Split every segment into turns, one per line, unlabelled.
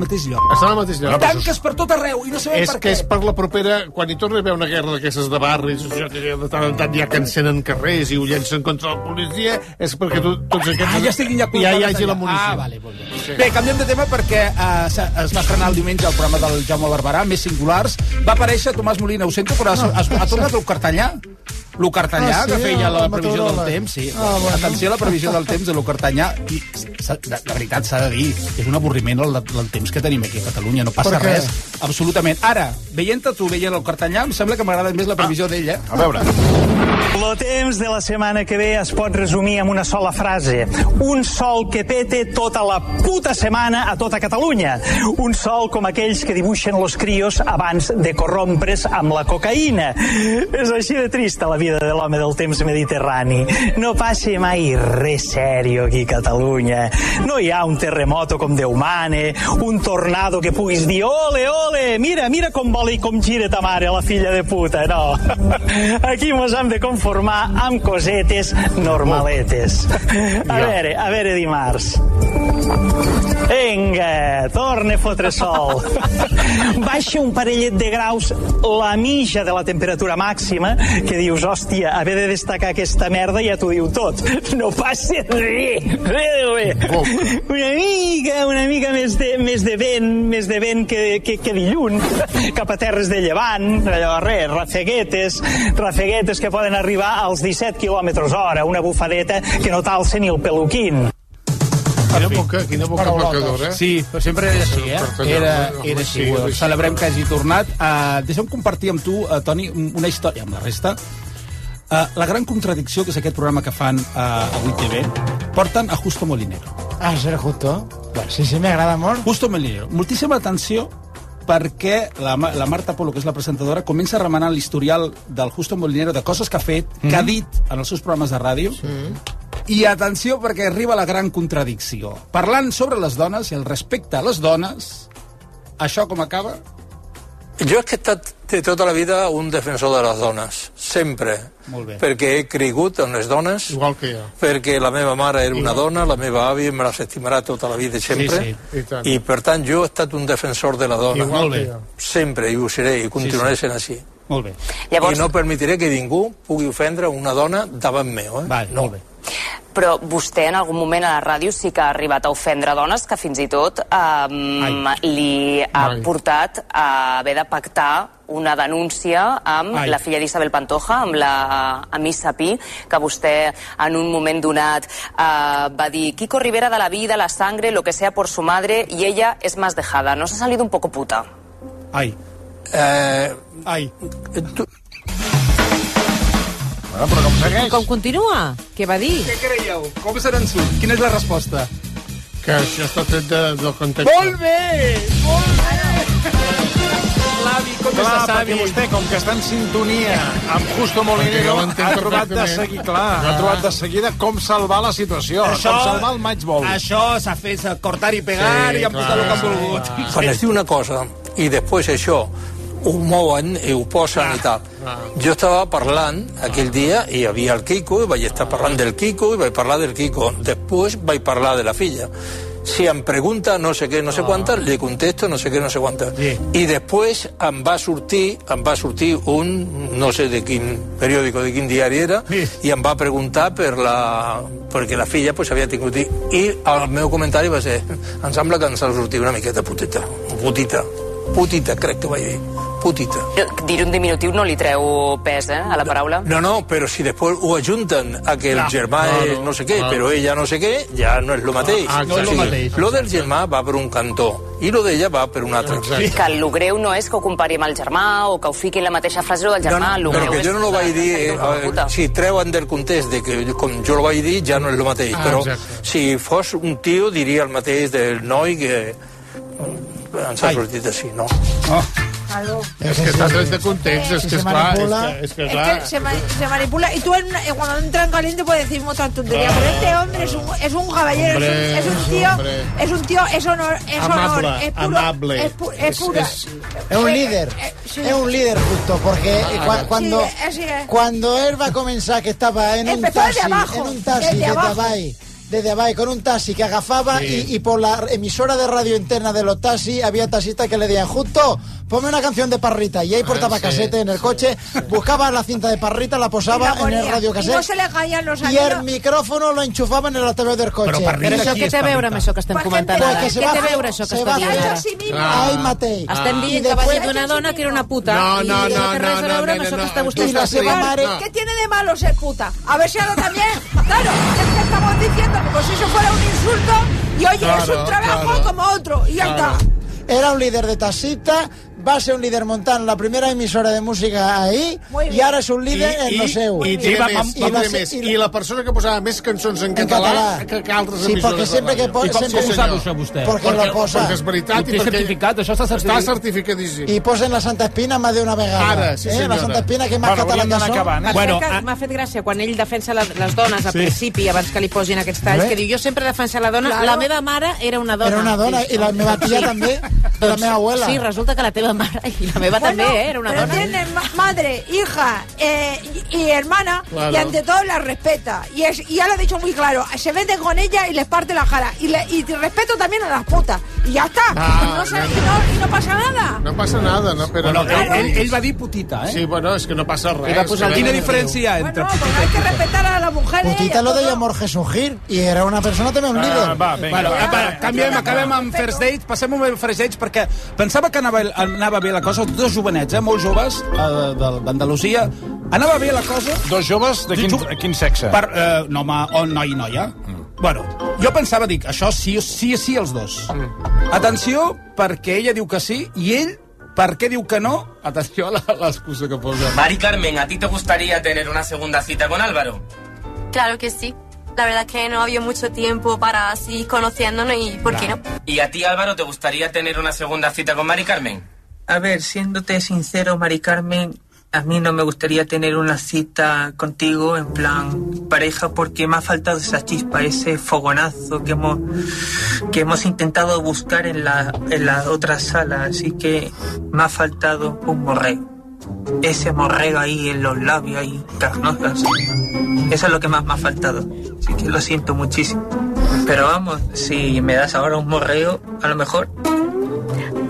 mateix lloc. Ah,
Estan al mateix lloc.
I tanques per tot arreu i no sabem
És
per
que
què.
és per la propera... Quan hi torna a haver una guerra d'aquestes de barris, això que de tant en tant ja que encenen carrers i ho llencen contra la policia, és perquè to, tots aquests...
Ah, ja estic ja
ja
col·locat
hi hagi
allà.
la munició.
Ah, vale, molt bé.
Sí.
Bé, canviem de tema perquè eh, s'ha- es va estrenar el diumenge el programa del Jaume Barberà, Més Singulars. Va aparèixer Tomàs Molina, ho sento, però ha, ha, ha tornat el cartellà. Lo cartellà,
Ah, sí,
que feia la
el
previsió del
meteoròleg.
temps, sí.
Ah, bueno.
Atenció a la previsió del temps de lo cartellà. I, s'ha- de, de veritat, s'ha de dir, és un avorriment el, el temps que tenim aquí a Catalunya, no passa
Per què?
res, absolutament. Ara, veient-te tu, veient el cartellà, em sembla que m'agrada més la previsió eh? d'ella.
Ah. A veure,
Lo temps de la setmana que ve es pot resumir amb una sola frase. Un sol que pete tota la puta setmana a tota Catalunya. Un sol com aquells que dibuixen los crios abans de corrompre's amb la cocaïna. És així de trista la vida de l'home del temps mediterrani. No passi mai res serio aquí a Catalunya. No hi ha un terremoto com Déu mane, un tornado que puguis dir ole, ole, mira, mira com vola i com gira ta mare, la filla de puta, no. Aquí mos hem de conformar amb cosetes normaletes. A veure, a veure dimarts. Vinga, torna a fotre sol. Baixa un parellet de graus la mitja de la temperatura màxima, que dius, hòstia, haver de destacar aquesta merda ja t'ho diu tot. No passa res, res de res. Una mica, una mica més de, més de vent, més de vent que, que, que dilluns, cap a terres de llevant, allò, res, rafeguetes, rafeguetes que poden arribar als 17 km hora, una bufadeta que no t'alça ni el peluquín.
quina boca, quina boca
Paraulotes.
marcadora.
Sí, però sempre era així, eh?
Perfecte.
Era, era
Sí,
així. Ho
sí.
Celebrem que hagi tornat. Uh, deixa'm compartir amb tu, uh, Toni, un- una història amb la resta. Uh, la gran contradicció que és aquest programa que fan uh, avui TV, porten a Justo Molinero.
Ah, serà justo. Bueno, sí, sí, m'agrada molt.
Justo Molinero, moltíssima atenció perquè la, Ma- la Marta Polo, que és la presentadora, comença remenant l'historial del Justo Molinero de coses que ha fet, que
Mhm.
ha dit en els seus programes de ràdio, i atenció perquè arriba la gran contradicció. Parlant sobre les dones i el respecte a les dones, això com acaba?
Jo és que he estat de tota la vida un defensor de les dones, sempre.
Molt bé.
Perquè he cregut en les dones,
Igual que jo.
perquè la meva mare era una dona, la meva àvia me les estimarà tota la vida i sempre.
Sí,
sí. I tant.
I per tant jo he estat un defensor de la dona.
Igual
bé.
que jo.
Sempre, i ho seré, i continuaré sent així.
Molt bé.
I no permetré que ningú pugui ofendre una dona davant meu. Eh?
Vale,
no.
molt bé.
Però vostè en algun moment a la ràdio sí que ha arribat a ofendre dones que fins i tot um, li ha
Ai.
portat a haver de pactar una denúncia amb
Ai.
la filla d'Isabel Pantoja, amb la Amissa Pi, que vostè en un moment donat uh, va dir Kiko Rivera de la vida, la sangre, lo que sea por su madre, y ella es más dejada. Nos ha salido un poco puta.
Ai,
Eh,
ai.
tu,
Bueno, però com segueix?
Com continua? Què va dir?
Què creieu? Com se n'en surt? Quina és la resposta?
Que això està tret de, del context.
Molt bé! Molt bé! L'avi, com és
Clar,
de savi?
perquè vostè, com que està en sintonia amb Justo Molinero,
jo l'entenc
ha trobat de
perfectament.
seguida, clar, ha trobat de seguida com salvar la situació, com salvar el maig bol.
Això s'ha fet cortar i pegar
Sí,
i han posat el
clar,
que han volgut.
quan es diu una cosa i després això ho mouen i ho posen
Ah,
i tal. Jo estava parlant aquell dia i hi havia el Quico i vaig estar parlant del Quico i vaig parlar del Quico. Després vaig parlar de la filla. Si em pregunta no sé què, no sé quantas, li contesto no sé què, no sé quantas.
Ah. Sí.
I després em va sortir, em va sortir un, no sé de quin periòdico, de quin diari era,
Sí.
i em va preguntar per la, perquè la filla pues, havia tingut... I i el meu comentari va ser em sembla que ens ha sortit una miqueta putita. Putita. Putita, crec que vaig dir. Putita.
Eh, Dir un diminutiu no li treu pes, eh, a la paraula.
No, no, però si després ho ajunten a que el
Clar.
germà
Claro,
és no sé què,
claro.
però ella no sé què, ja no és el mateix.
Ah, no és lo
O sigui,
mateix,
Lo del germà va per un cantó i lo d'ella va per un altre.
Exacte.
que el greu no és que ho compari amb el germà o que ho fiqui en la mateixa frase del germà, el
però
greu
que
és
jo no ho vaig dir,
que
eh,
s'ha dit
eh, si treuen del context de que com jo ho vaig dir ja no és el mateix,
Ah,
però
exacte.
si fos un tio diria el mateix del noi que eh, ens ha
Ai.
sortit així, no?
Oh,
És que està tret de context, és que és
Se
clar... És
manipula.
que, és que
Es
clar...
que se, ma- se manipula. Y tú en una- eh, cuando entra en caliente puedes decir mucha tontería. Pero este hombre es un, es un caballero,
Ah. Hombre,
es, un, es un tío.
hombre.
Es un tío, es honor. Es
Amable,
honor, es puro,
amable.
Es, pu- es
Es-
pura.
es-
Es un líder,
Eh, eh, sí.
es un líder justo, porque eh, cua- cuando,
Sí, así es.
cuando él va a comenzar que estaba en un
Empezó desde
taxi,
abajo,
en un taxi
desde
de
abajo.
Tabay, desde Abay con un taxi que agafaba y, y por la emisora de radio interna de los taxis había taxistas que le decían, justo, ponme una canción de Parrita. Y ahí portaba
sí,
casete en el coche, buscaba la cinta de Parrita, la posaba en el radio
I no se
cassette
li caien los
y el
anillos.
micrófono lo enchufaba en el altaveu del coche.
Però Parrita-
Però això
Qui
què
és
té a veure
Pablita?
amb això que estem
Perquè
comentant
em
ara?
que se
Què
va
té a
fer-
veure això que
se
estem
va
dient
fer-
ara?
Això sí, mira.
Ahí matei.
Estem
I
dient que va
després-
ser d'una dona que era una puta
No,
i
no, no,
i té
no,
res a
no,
veure
no,
amb això
no.
que està
I
vostè
la
explicant.
seva mare-
¿Qué tiene de malo ser puta? A ver si ahora también. Claro, es que estamos diciendo como si eso fuera un insulto y oye, es
Claro,
un trabajo
claro.
como otro. Y ya
Claro.
está.
Era un líder de taxista, va a ser un líder montano, la primera emisora de música ahí,
Muy bien.
y ahora es un líder en los EU.
I, diré
I va-
més,
va-
i, diré
va-
més. I la persona que posava més cançons en,
En
català,
català.
que, que altres
Sí,
emissores
perquè sempre
de
que
ràdio.
po-
I com
sempre-
s'ha
Sí,
usat
senyor.
això, vostè?
Porque
Perquè,
lo posa.
perquè és veritat
Ho té
i perquè...
certificat, això està certificat.
Està certificadíssim.
Y posen la Santa Espina más de una vegada.
Ara, sí,
Eh,
senyora.
La Santa Espina que más
Bueno, hauríem
catalana
d'anar
son.
acabant, eh?
Bueno,
Bueno, a-
M'ha fet gràcia quan ell defensa la, les dones al sí. principi, abans que li posin aquests talls, que diu, jo sempre he defensat la dona,
Claro.
claro. la meva mare era una dona.
Era una dona,
Sí,
i la meva tia també, i la meva abuela.
Sí, resulta que la teva mare i la meva
Bueno,
també eh, era una
pero
dona.
tiene ma- madre, hija eh, y, y hermana
Claro.
y ante todo la respeta. Y, es, y ya lo he dicho muy claro, se meten con ella y les parte la cara. Y, le- y te respeto también a las putas. Y ya está.
Ah,
y, no se-
no, no.
y no- y no pasa nada.
No passa nada, no, però...
Bueno,
no,
ell,
no,
ell, ell va dir putita, eh?
Sí, bueno, és que no passa res.
I va posar
que
quina
no-
diferència hi ha entre...
Bueno, pues hay que respetar a las mujeres. y a
Putita lo de
todo.
llamar Jesús Gil, y era una persona también un
Ah,
líder.
va, vinga.
Bueno,
va.
va, va, canviem, acabem amb First Dates, passem amb First Dates perquè pensava que anava, anava bé la cosa, dos jovenets, eh, molt joves, eh, de- d'Andalusia, anava bé la cosa
Dos joves de quin,
Tu-
quin sexe? Mm.
per eh, un home o noi i noia. Bueno, jo pensava, dic, això sí, sí, sí, els dos. Atenció, perquè ella diu que sí, i ell, per què diu que no? Atenció a la- l'excusa que posa.
Mari Carmen, ¿a ti te gustaría tener una segunda cita con Álvaro?
Claro que sí. La verdad es que no ha habido mucho tiempo para seguir conociéndonos y por qué no.
¿Y a ti, Álvaro, te gustaría tener una segunda cita con Mari Carmen?
A ver, siéndote sincero, Mari Carmen, a mí no me gustaría tener una cita contigo en plan pareja porque me ha faltado esa chispa, ese fogonazo que hemos, que hemos intentado buscar en la, en la otra sala. Así que me ha faltado un morrego. Ese morrego ahí en los labios, ahí carnosas. Eso es lo que más me ha faltado. Así que lo siento muchísimo. Pero vamos, si me das ahora un morreo, a lo mejor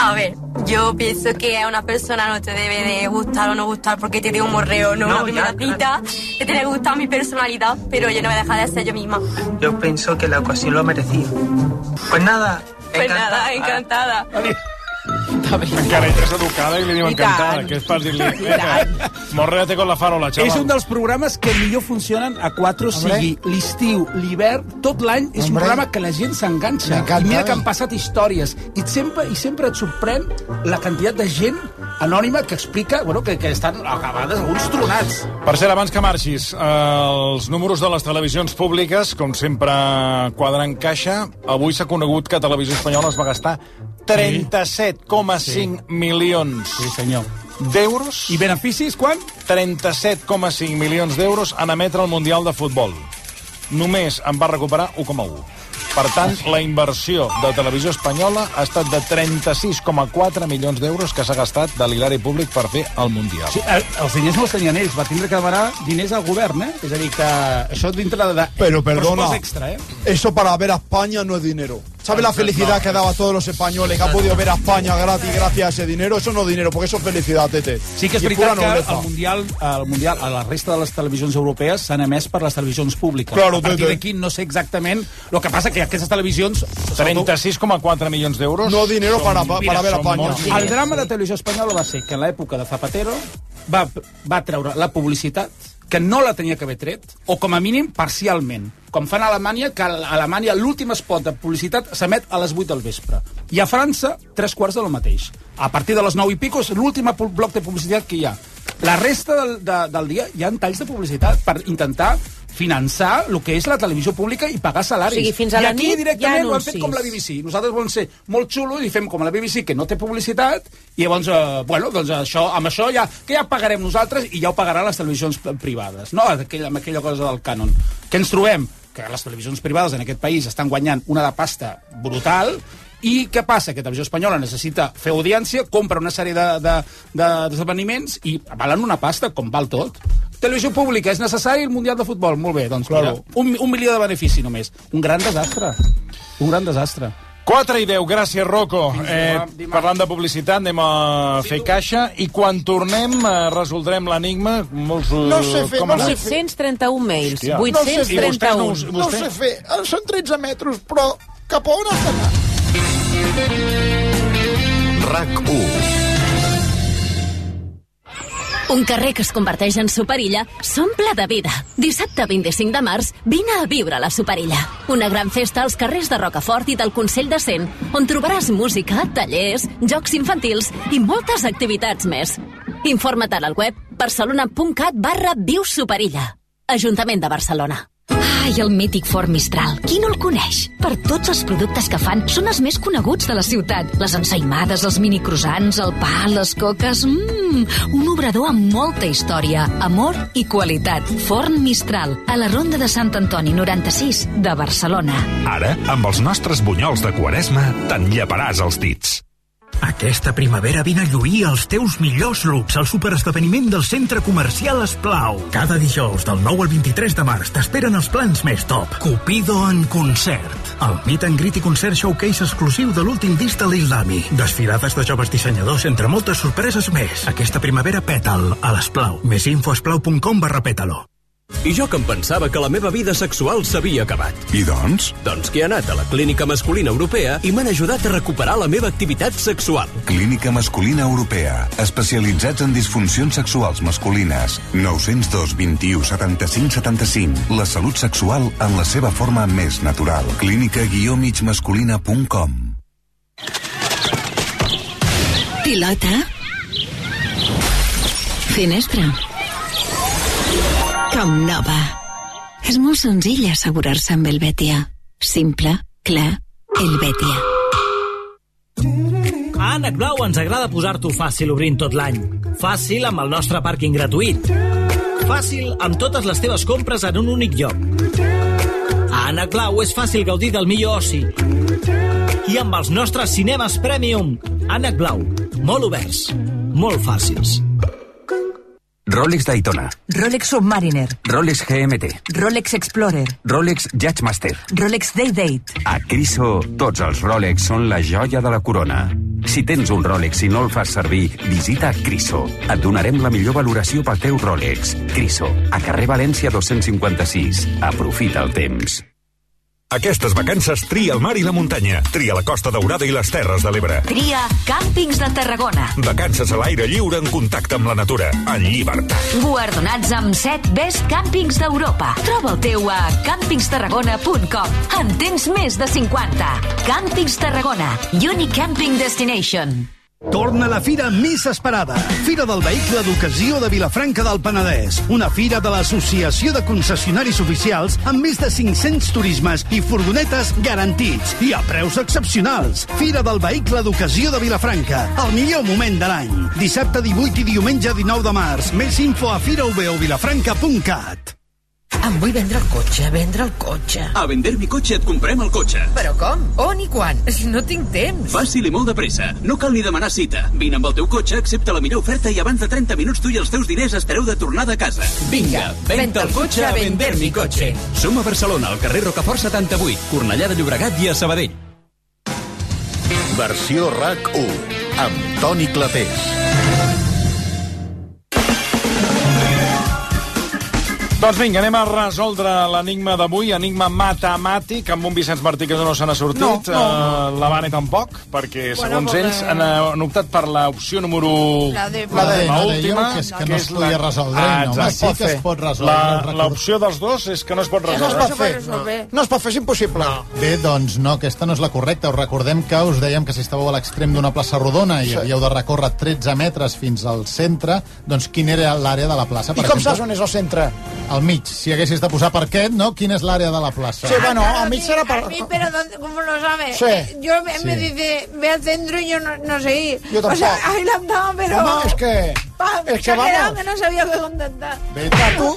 A ver, yo pienso que a una persona no te debe de gustar o no gustar porque te dio un morreo, no,
No,
una primera
ya,
cita, que te debe gustar mi personalidad, pero yo no voy a dejar de ser yo misma.
Yo pienso que la ocasión lo merecía. Pues nada,
Pues nada, encantada.
Encara ella és educada i li diu
I
encantada,
tant.
que és per dir-li...
I tant.
"Venga, Morréate con la farola,
Xaval.
xaval.
És un dels programes que millor funcionen a 4,
Hombre.
sigui l'estiu, l'hivern, tot l'any. És un
Hombre.
programa que la gent s'enganxa.
M'encanta,
I mira que
eh?
han passat històries. I sempre, I sempre et sorprèn la quantitat de gent anònima que explica bueno, que, que estan acabades alguns tronats.
Per cert, abans que marxis, eh, els números de les televisions públiques, com sempre, quadren caixa. Avui s'ha conegut que Televisió Espanyola es va gastar 37,5 milions
Sí, senyor.
d'euros.
I beneficis, quan?
37,5 milions d'euros en emetre el Mundial de Futbol. Només en va recuperar 1,1. Per tant, la inversió de Televisió Espanyola ha estat de 36,4 milions d'euros que s'ha gastat de l'hilari públic per fer el Mundial.
Sí, eh, els diners no els tenien ells, va tindre que demanar diners al govern, eh? És a dir, que això dintre de...
Pero perdona,
pressupost extra, eh?
eso para ver a España no es dinero. ¿Sabes la felicidad que daba a todos los españoles que ha podido ver a España gratis gracias a ese dinero? Eso no es dinero, porque eso es felicidad, Tete.
Sí que és
Y pura
veritat que
nobleza.
el Mundial, el mundial a la resta de les televisions europees s'han emès per les televisions públiques.
Claro,
a partir
tete.
d'aquí no sé exactament... El que passa que aquestes televisions...
36,4 milions d'euros.
No dinero para, para
Mira,
ver a
son
España.
molts
El drama de televisió espanyola va ser que en l'època de Zapatero va, va treure la publicitat que no la tenia que haver tret, o com a mínim parcialment. Com fan a Alemanya, que a Alemanya l'últim spot de publicitat s'emet a les 8 del vespre. I a França, tres quarts de lo mateix. A partir de les 9 i pico és l'últim pu- bloc de publicitat que hi ha. La resta del, de, del dia hi ha talls de publicitat per intentar finançar el que és la televisió pública i pagar salaris.
O sigui, fins a
I
la
aquí
nit hi ha
directament ho han fet
anuncis.
com la BBC. BBC. Nosaltres volem ser molt xulos i fem com la BBC, que no té publicitat, i llavors, eh, bueno, doncs això, amb això ja, que ja pagarem nosaltres i ja ho pagaran les televisions privades, no? Aquella, amb aquella cosa del cànon. Què ens trobem? Que les televisions privades en aquest país estan guanyant una de pasta brutal, i què passa? Que Televisió Espanyola necessita fer audiència, compra una sèrie de- de- de- d'esdeveniments de, i valen una pasta, com val tot. Televisió pública, és necessari el Mundial de Futbol. Molt bé, doncs claro. mira, un, un milió de benefici només. Un gran desastre. Un gran desastre.
4 i 10, gràcies, Rocco. Eh, parlant de publicitat, anem a fer caixa i quan tornem eh, resoldrem l'enigma. Molts, eh,
No sé fer,
com
no
han anat?
sé fer.
831 mails.
Hòstia. I vostè no
831.
us-
No
vostè-
sé fer, eh, són 13 metres, però cap a on has d'anar?
RAC1.
Un carrer que es converteix en superilla s'omple de vida. Dissabte 25 de març, vine a viure la superilla. Una gran festa als carrers de Rocafort i del Consell de Cent, on trobaràs música, tallers, jocs infantils i moltes activitats més. Informa't al web barcelona.cat barra Viu Superilla. Ajuntament de Barcelona.
Ai, el mític Fort Mistral. Qui no el coneix? Per tots els productes que fan són els més coneguts de la ciutat. Les ensaïmades, els minicrosants, el pa, les coques... Mmm, un obrador amb molta història, amor i qualitat. Forn Mistral, a la Ronda de Sant Antoni 96 de Barcelona.
Ara, amb els nostres bunyols de quaresma, te'n lleparàs els dits.
Aquesta primavera vine a lluir els teus millors looks al superesdeveniment del centre comercial Esplau. Cada dijous, del 9 al 23 de març, t'esperen els plans més top. Cupido en concert. El Meet and Greet i concert showcase exclusiu de l'últim disc de Lil Dami. Desfilades de joves dissenyadors, entre moltes sorpreses més. Aquesta primavera pètal a l'Esplau. Més info a esplau.com barra pétalo.
I jo que em pensava que la meva vida sexual s'havia acabat. I doncs? Doncs que he anat a la Clínica Masculina Europea i m'han ajudat a recuperar la meva activitat sexual.
Clínica Masculina Europea. Especialitzats en disfuncions sexuals masculines. 902 21 75 75. La salut sexual en la seva forma més natural. Clínica-migmasculina.com
Pilota. Finestra. Com nova. És molt senzill assegurar-se amb el Betia. Simple, clar, el Betia.
A Ànec Blau ens agrada posar-t'ho fàcil obrint tot l'any. Fàcil amb el nostre pàrquing gratuït. Fàcil amb totes les teves compres en un únic lloc. A Ànec Blau és fàcil gaudir del millor oci. I amb els nostres cinemes premium. Ànec Blau. Molt oberts. Molt fàcils.
Rolex Daytona,
Rolex Submariner,
Rolex GMT,
Rolex Explorer,
Rolex Judgemaster.
Rolex Day Date.
A Criso, tots els Rolex són la joia de la corona. Si tens un Rolex i no el fas servir, visita Criso. Et donarem la millor valoració pel teu Rolex. Criso, a carrer València 256. Aprofita el temps.
Aquestes vacances tria el mar i la muntanya. Tria la Costa Daurada i les Terres de l'Ebre.
Tria Càmpings de Tarragona.
Vacances a l'aire lliure en contacte amb la natura. En llibertat.
Guardonats amb 7 Best Càmpings d'Europa. Troba el teu a campingstarragona.com. En tens més de 50. Càmpings Tarragona. Unique Camping Destination.
Torna la fira més esperada. Fira del Vehicle d'Ocasió de Vilafranca del Penedès. Una fira de l'Associació de Concessionaris Oficials amb més de 500 turismes i furgonetes garantits i a preus excepcionals. Fira del Vehicle d'Ocasió de Vilafranca. El millor moment de l'any. Dissabte 18 i diumenge 19 de març. Més info a firaoveovilafranca.cat
Em vull vendre el cotxe, vendre el cotxe.
A vender mi cotxe et comprem el cotxe.
Però com? On i quan? No tinc temps.
Fàcil i molt de pressa. No cal ni demanar cita. Vine amb el teu cotxe, accepta la millor oferta i abans de 30 minuts tu i els teus diners estareu de tornada a casa. Vinga, venta el cotxe a vender mi cotxe.
Som a Barcelona, al carrer Rocafort 78, Cornellà de Llobregat i a Sabadell.
Versió RAC1 amb Toni Clapés.
Doncs vinga, anem a resoldre l'enigma d'avui, enigma matemàtic, amb un Vicenç Martí que no se n'ha sortit,
No, no,
eh, la Vane tampoc, perquè
Bueno,
segons
perquè-
ells han, eh, han optat per l'opció número...
La de- La de- la de
última,
jo, que és que no es podia resoldre, eh,
Ah,
no,
exacte.
home, sí que es pot resoldre,
La-
record.
L'opció dels dos és que no es pot
No es
resoldre.
pot fer. No es pot fer, és impossible.
Bé, doncs no, aquesta no és la correcta. Us recordem que us dèiem que si estàveu a l'extrem d'una plaça rodona i
Sí.
havíeu de recórrer 13 metres fins al centre, doncs quina era l'àrea de la plaça?
I com saps on és el centre?
Al mig. Si haguessis de posar parquet, no? Quina és l'àrea de la plaça?
Sí, bueno, al mig serà per...
A mí, pero ¿dónde- ¿cómo lo sabes?
Sí.
Eh, Yo me,
Sí.
me dice, ve al centro y yo no, no sé ir.
Yo
O sea,
tampoco.
ahí la andaba, pero...
No, es que...
Pa,
es
se
que
ha quedado
vamos.
que no sabía qué contestar.
Bé,
Clar, tu, eh,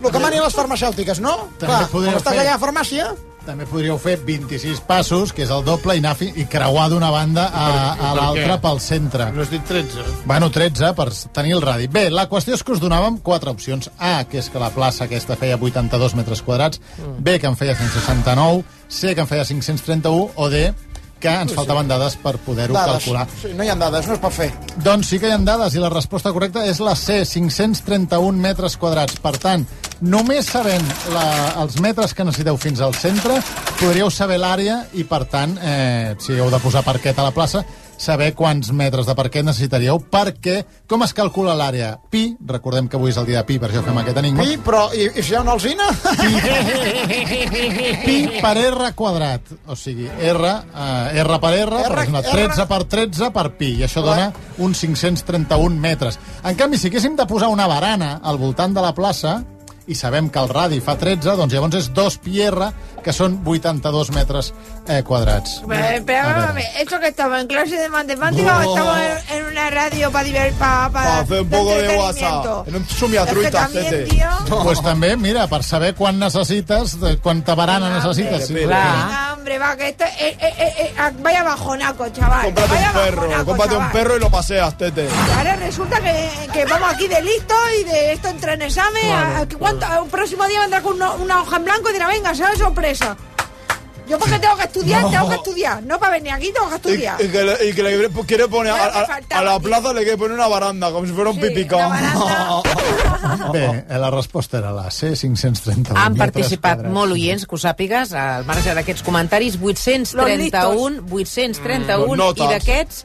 lo que manin les farmacèutiques, no?
També
Clar,
podria
com estàs
fer.
allà a farmàcia...
També podríeu fer 26 passos, que és el doble, i, anar fi- i creuar d'una banda a, a
Per
l'altra
què?
pel centre.
No has dit 13.
Bueno, 13 per tenir el radi. Bé, la qüestió és que us donàvem quatre opcions. A, que és que la plaça aquesta feia 82 metres quadrats. B, que en feia 169. C, que en feia 531. O D, que ens faltaven dades per poder-ho
Dades.
calcular.
Sí, no hi ha dades, no es pot fer.
Doncs sí que hi ha dades i la resposta correcta és la C, 531 metres quadrats. Per tant, només sabent la, els metres que necessiteu fins al centre, podríeu saber l'àrea i, per tant, eh, si heu de posar parquet a la plaça, saber quants metres de parquet necessitaríeu, perquè com es calcula l'àrea? Pi, recordem que avui és el dia de Pi, per això fem aquest enigma.
I, però, i, i si hi ha una alzina?
Pi per R quadrat, o sigui, R, eh, R per R, per exemple, 13 per 13 per pi, i això dona uns 531 metres. En canvi, si haguéssim de posar una barana al voltant de la plaça, i sabem que el radi fa 13, doncs llavors és 2 pi R, que són 82 metres eh, quadrats.
Pero, pero
A
vamos a
ver.
ver, esto que estamos en clase de matemáticas
Oh.
o estamos en, en una radio para divertir, para,
Para hacer un poco de WhatsApp. En un sumiatruita, Cete.
No. Pues també, mira, per saber quan necessites, de quanta barana necessites. Sí.
Venga, hombre, va, que esto, eh, eh, eh, eh, vaya bajonaco, chaval.
Cómprate
Vaya
un perro,
bajonaco,
cómprate un
chaval.
perro y lo paseas, Tete.
Ahora resulta que, que vamos aquí de listo y de esto entra en examen.
Claro,
a- que ¿cuánto? El próximo día vendrá con una, una hoja en blanco y dirá, venga, sea sorpresa. Yo porque tengo que estudiar,
No.
tengo que estudiar. No para venir aquí, tengo
Y,
que estudiar.
y que le, y que le quiere- quiere poner a, a- a la plaza le quiere poner una baranda, como si fuera un pipicón.
Bé, eh, la resposta era la C, 531
Han
metres
participat
quadrats.
molt oients, que ho sàpigues, al marge d'aquests comentaris, 831, 831,
Mm, notes.
i d'aquests,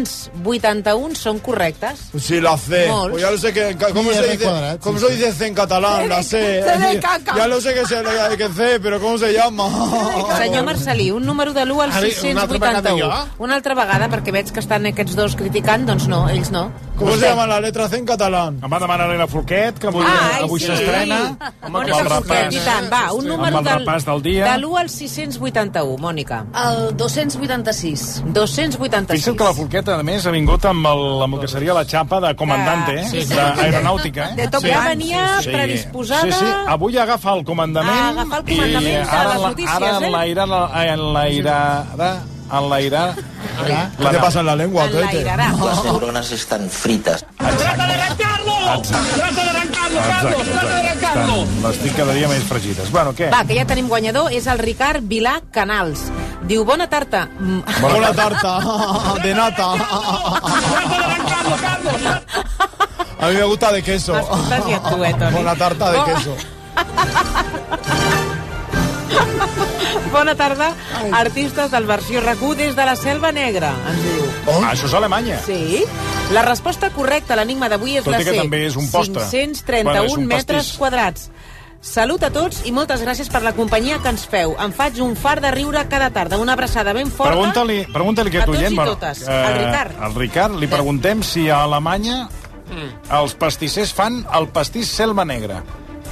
681 són correctes.
Sí, la C.
Molts.
Pues ya lo sé que. ¿Cómo
Y
se
R
dice,
cuadrat,
cómo
sí,
se dice C en catalán? La C.
C de caca.
Ya lo sé que, se, que C, pero ¿cómo se llama?
Senyor Marcelí, un número de l'1 al
Ara, una altra vegada
681.
jo?
Una altra vegada, perquè veig que estan aquests dos criticant, doncs no, ells no.
¿Cómo se llama la letra C en catalán?
Em va demanar l'Helena Forquet, que avui,
Ai,
avui
sí.
s'estrena.
Mònica Forquet, i tant. Va, un número
amb el
del-
repàs del dia.
De l'1 al 681, Mònica.
El 286.
286.
Fixa't que la Forqueta, a més, ha vingut amb, el, amb el que seria la xapa de comandante, eh?
Ah, sí, sí.
d'aeronàutica. Eh?
De Top Gun. Ja venia predisposada.
Sí, sí. Avui agafa el comandament.
A agafar el comandament de
ara
les
enla-
notícies,
Ara
eh?
enlairarà... Enlairarà... Enlairarà...
¿Qué te pasa en la lengua, Tete?
Enlairarà.
Las neuronas están fritas.
Exacte. Exacte, exacte. Estan- Les tinc cada dia més fregides. Bueno, què?
Va, que ja tenim guanyador, és el Ricard Vilà Canals. Diu, bona tarda. Mm,
Hola, tarta. De nata. A mí me gusta de queso.
Escolta, si actua, eh, Toni.
Con la tarta de queso.
Bona tarda, artistes del versió RAC1 des de la Selva Negra, ens diu.
Oh. Això és Alemanya.
Sí. La resposta correcta a l'enigma d'avui és
Tot i
la
que
C.
també és un postre.
531
Bueno, és un
metres
pastís.
quadrats. Salut a tots i moltes gràcies per la companyia que ens feu. Em faig un far de riure cada tarda. Una abraçada ben forta.
Pregunta-li pregunta que
a
tu,
tots
gent... Eh,
i
bueno,
totes. Al Ricard. Mm.
Al Ricard li preguntem si a Alemanya els pastissers fan el pastís Selva Negra.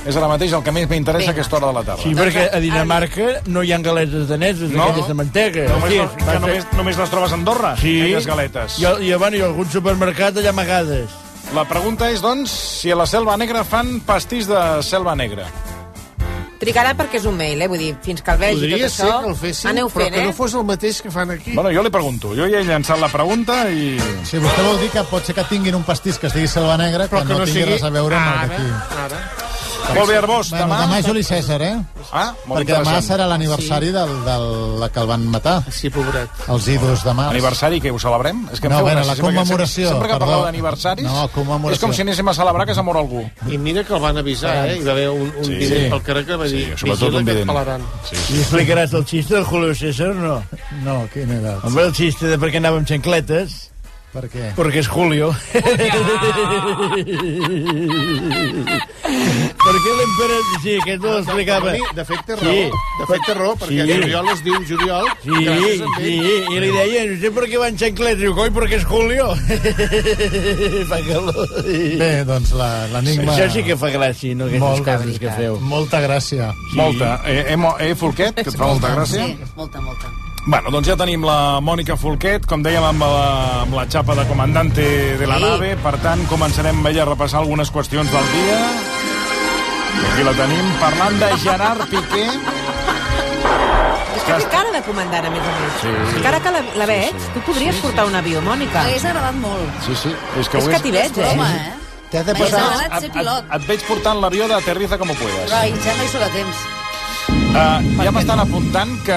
És ara mateix el que més m'interessa a aquesta hora de la tarda.
Sí, perquè a Dinamarca no hi ha galetes daneses,
No?
no? aquelles de mantega.
Només,
Sí,
les- que
passa-
només, només les trobes a Andorra,
Sí.
aquelles galetes.
I, i, bueno, i algun supermercat allà amagades.
La pregunta és, doncs, si a la Selva Negra fan pastís de Selva Negra.
Trigarà perquè és un mail, eh? Vull dir, fins que el vegi
Podria
tot
ser
això...
que el fessin,
aneu
però
fent,
que
eh?
no fos el mateix que fan aquí.
Bueno, jo li pregunto. Jo ja he llançat la pregunta i...
Si vostè vol dir que pot ser que tinguin un pastís que es digui selva negra, però que, no, tingui res a veure amb el d'aquí.
Ara.
Molt bé, Arbós,
Bueno, demà, és Juli César, eh?
Ah, molt
Perquè demà
interessant.
serà l'aniversari sí. del, del, del que el van matar.
Sí, pobret.
Els ídols de març.
Aniversari, que ho celebrem? És que em
No,
feu
bueno,
gràcia,
la
sempre que-
commemoració,
Sempre que
perdó.
parleu d'aniversaris,
No, commemoració.
és com si anéssim a celebrar que s'ha mort algú.
I mira que el van avisar, eh? Hi va haver un, un
Sí.
sí. vident
Sí.
pel carrer que va
Sí,
dir...
sobretot un vident.
Sí, sí. I explicaràs el xiste del Julio César o no?
No, quin era?
Home, el xiste de per què anàvem xancletes.
Per què?
Perquè és Julio. Perquè l'emperador... Sí, aquest no l'explicava.
Toni, de fet té raó, de fet té raó, perquè juliol es diu juliol,
Sí,
gràcies a ell.
sí, i li deia, no sé per què van xancletes. Diu, coi, perquè és Julio. Fa calor.
Bé, doncs la- l'enigma...
Això sí que fa gràcia, no? Aquestes
Molt,
coses que feu.
Molta gràcia.
Sí. Molta. Eh, eh, Mo- eh Folquet, que et fa molta gràcia?
Sí, molta, molta.
Bueno, doncs ja tenim la Mònica Folquet, com dèiem, amb la, amb la xapa de comandante de la
Sí.
nave. Per tant, començarem amb ella a repassar algunes qüestions del dia. I Aquí la tenim, parlant de Gerard Piqué.
Té cara de comandant, a més a més.
Sí, sí.
Encara que la, la veig, tu podries portar un avió, Mònica.
M'hagués agradat molt.
Sí, sí. És que,
És
ho
que t'hi veig, eh?
Home, eh?
T'has
de M'hagués posar- agradat ser pilot.
Et, et, et veig portant l'avió de Aterriza como puedas.
Però ja no hi sóc a temps.
Uh, ja m'estan apuntant que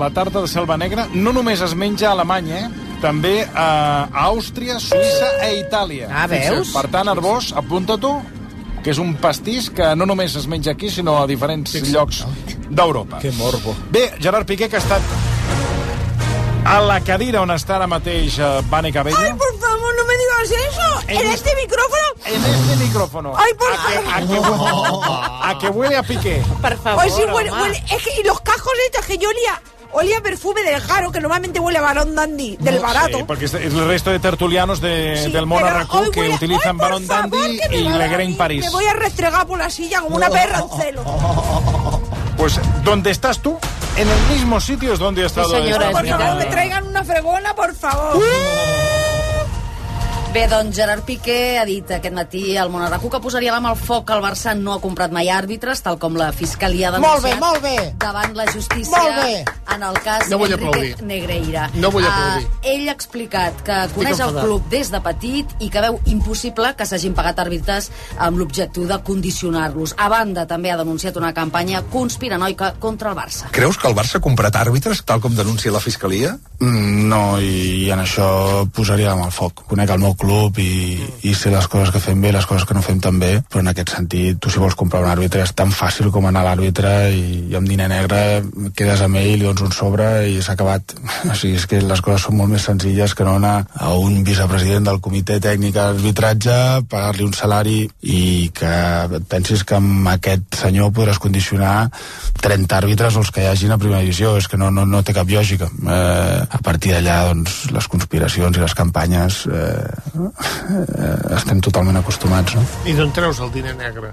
la tarta de Selva Negra no només es menja a Alemanya, eh? també eh, a Àustria, Suïssa i Itàlia.
Ah, veus?
Per tant, Arbós, apunta-t'ho, que és un pastís que no només es menja aquí, sinó a diferents llocs d'Europa. Que morbo. Bé, Gerard Piqué, que ha estat a la cadira on està ara mateix eh, Vane Cabello.
Ay, por favor, no me digas eso. En este micrófono.
En este micrófono.
Ay, por
a que, a que, a que huele a Piqué.
Por favor,
Ay, Pues sí, huele- huele- es que, y los cajos estos que yo olía. Olía perfume del Jaro, que normalmente huele a Barón Dandy, del barato.
Sí, porque es es el resto de tertulianos de,
Sí,
del Mona
pero
Racú
hoy
que
huele-
utilizan
hoy, por
Baron
favor,
Dandy
que me
y
va a dar
Le Grand
a mí.
Paris.
Me voy a restregar por la silla como una perra en celo.
Pues, ¿dónde estás tú? En el mismo sitio es donde he estado.
señora,
esta
es
Por
mañana.
favor, me traigan una fregona, por favor.
Uh! Bé, doncs Gerard Piqué ha dit aquest matí al Monarracu que posaria la mà al foc que el Barça no ha comprat mai àrbitres, tal com la Fiscalia ha
Molt bé,
denunciat
molt bé.
davant la justícia
Molt bé.
en el cas
No vull
Enrique
aplaudir.
Negreira.
No vull
Ah,
aplaudir.
ell ha explicat que coneix el
enfadat.
club des de petit i que veu impossible que s'hagin pagat àrbitres amb l'objectiu de condicionar-los. A banda, també ha denunciat una campanya conspiranoica contra el Barça.
Creus que el Barça ha comprat àrbitres, tal com denuncia la Fiscalia?
Mm, No, i en això posaria la mà al foc. Conec el meu club i, i sé les coses que fem bé i les coses que no fem tan bé, però en aquest sentit, tu si vols comprar un àrbitre és tan fàcil com anar a l'àrbitre i, i amb diner negre quedes amb ell, li dones un sobre i s'ha acabat. O sigui, és que les coses són molt més senzilles que no anar a un vicepresident del comitè tècnic d'arbitratge, pagar-li un salari i que et pensis que amb aquest senyor podràs condicionar 30 àrbitres o els que hi hagin a primera divisió. És que no, no, no té cap lògica. Eh, a partir d'allà, doncs, les conspiracions i les campanyes eh, eh, estem totalment acostumats, no?
I d'on treus el diner negre?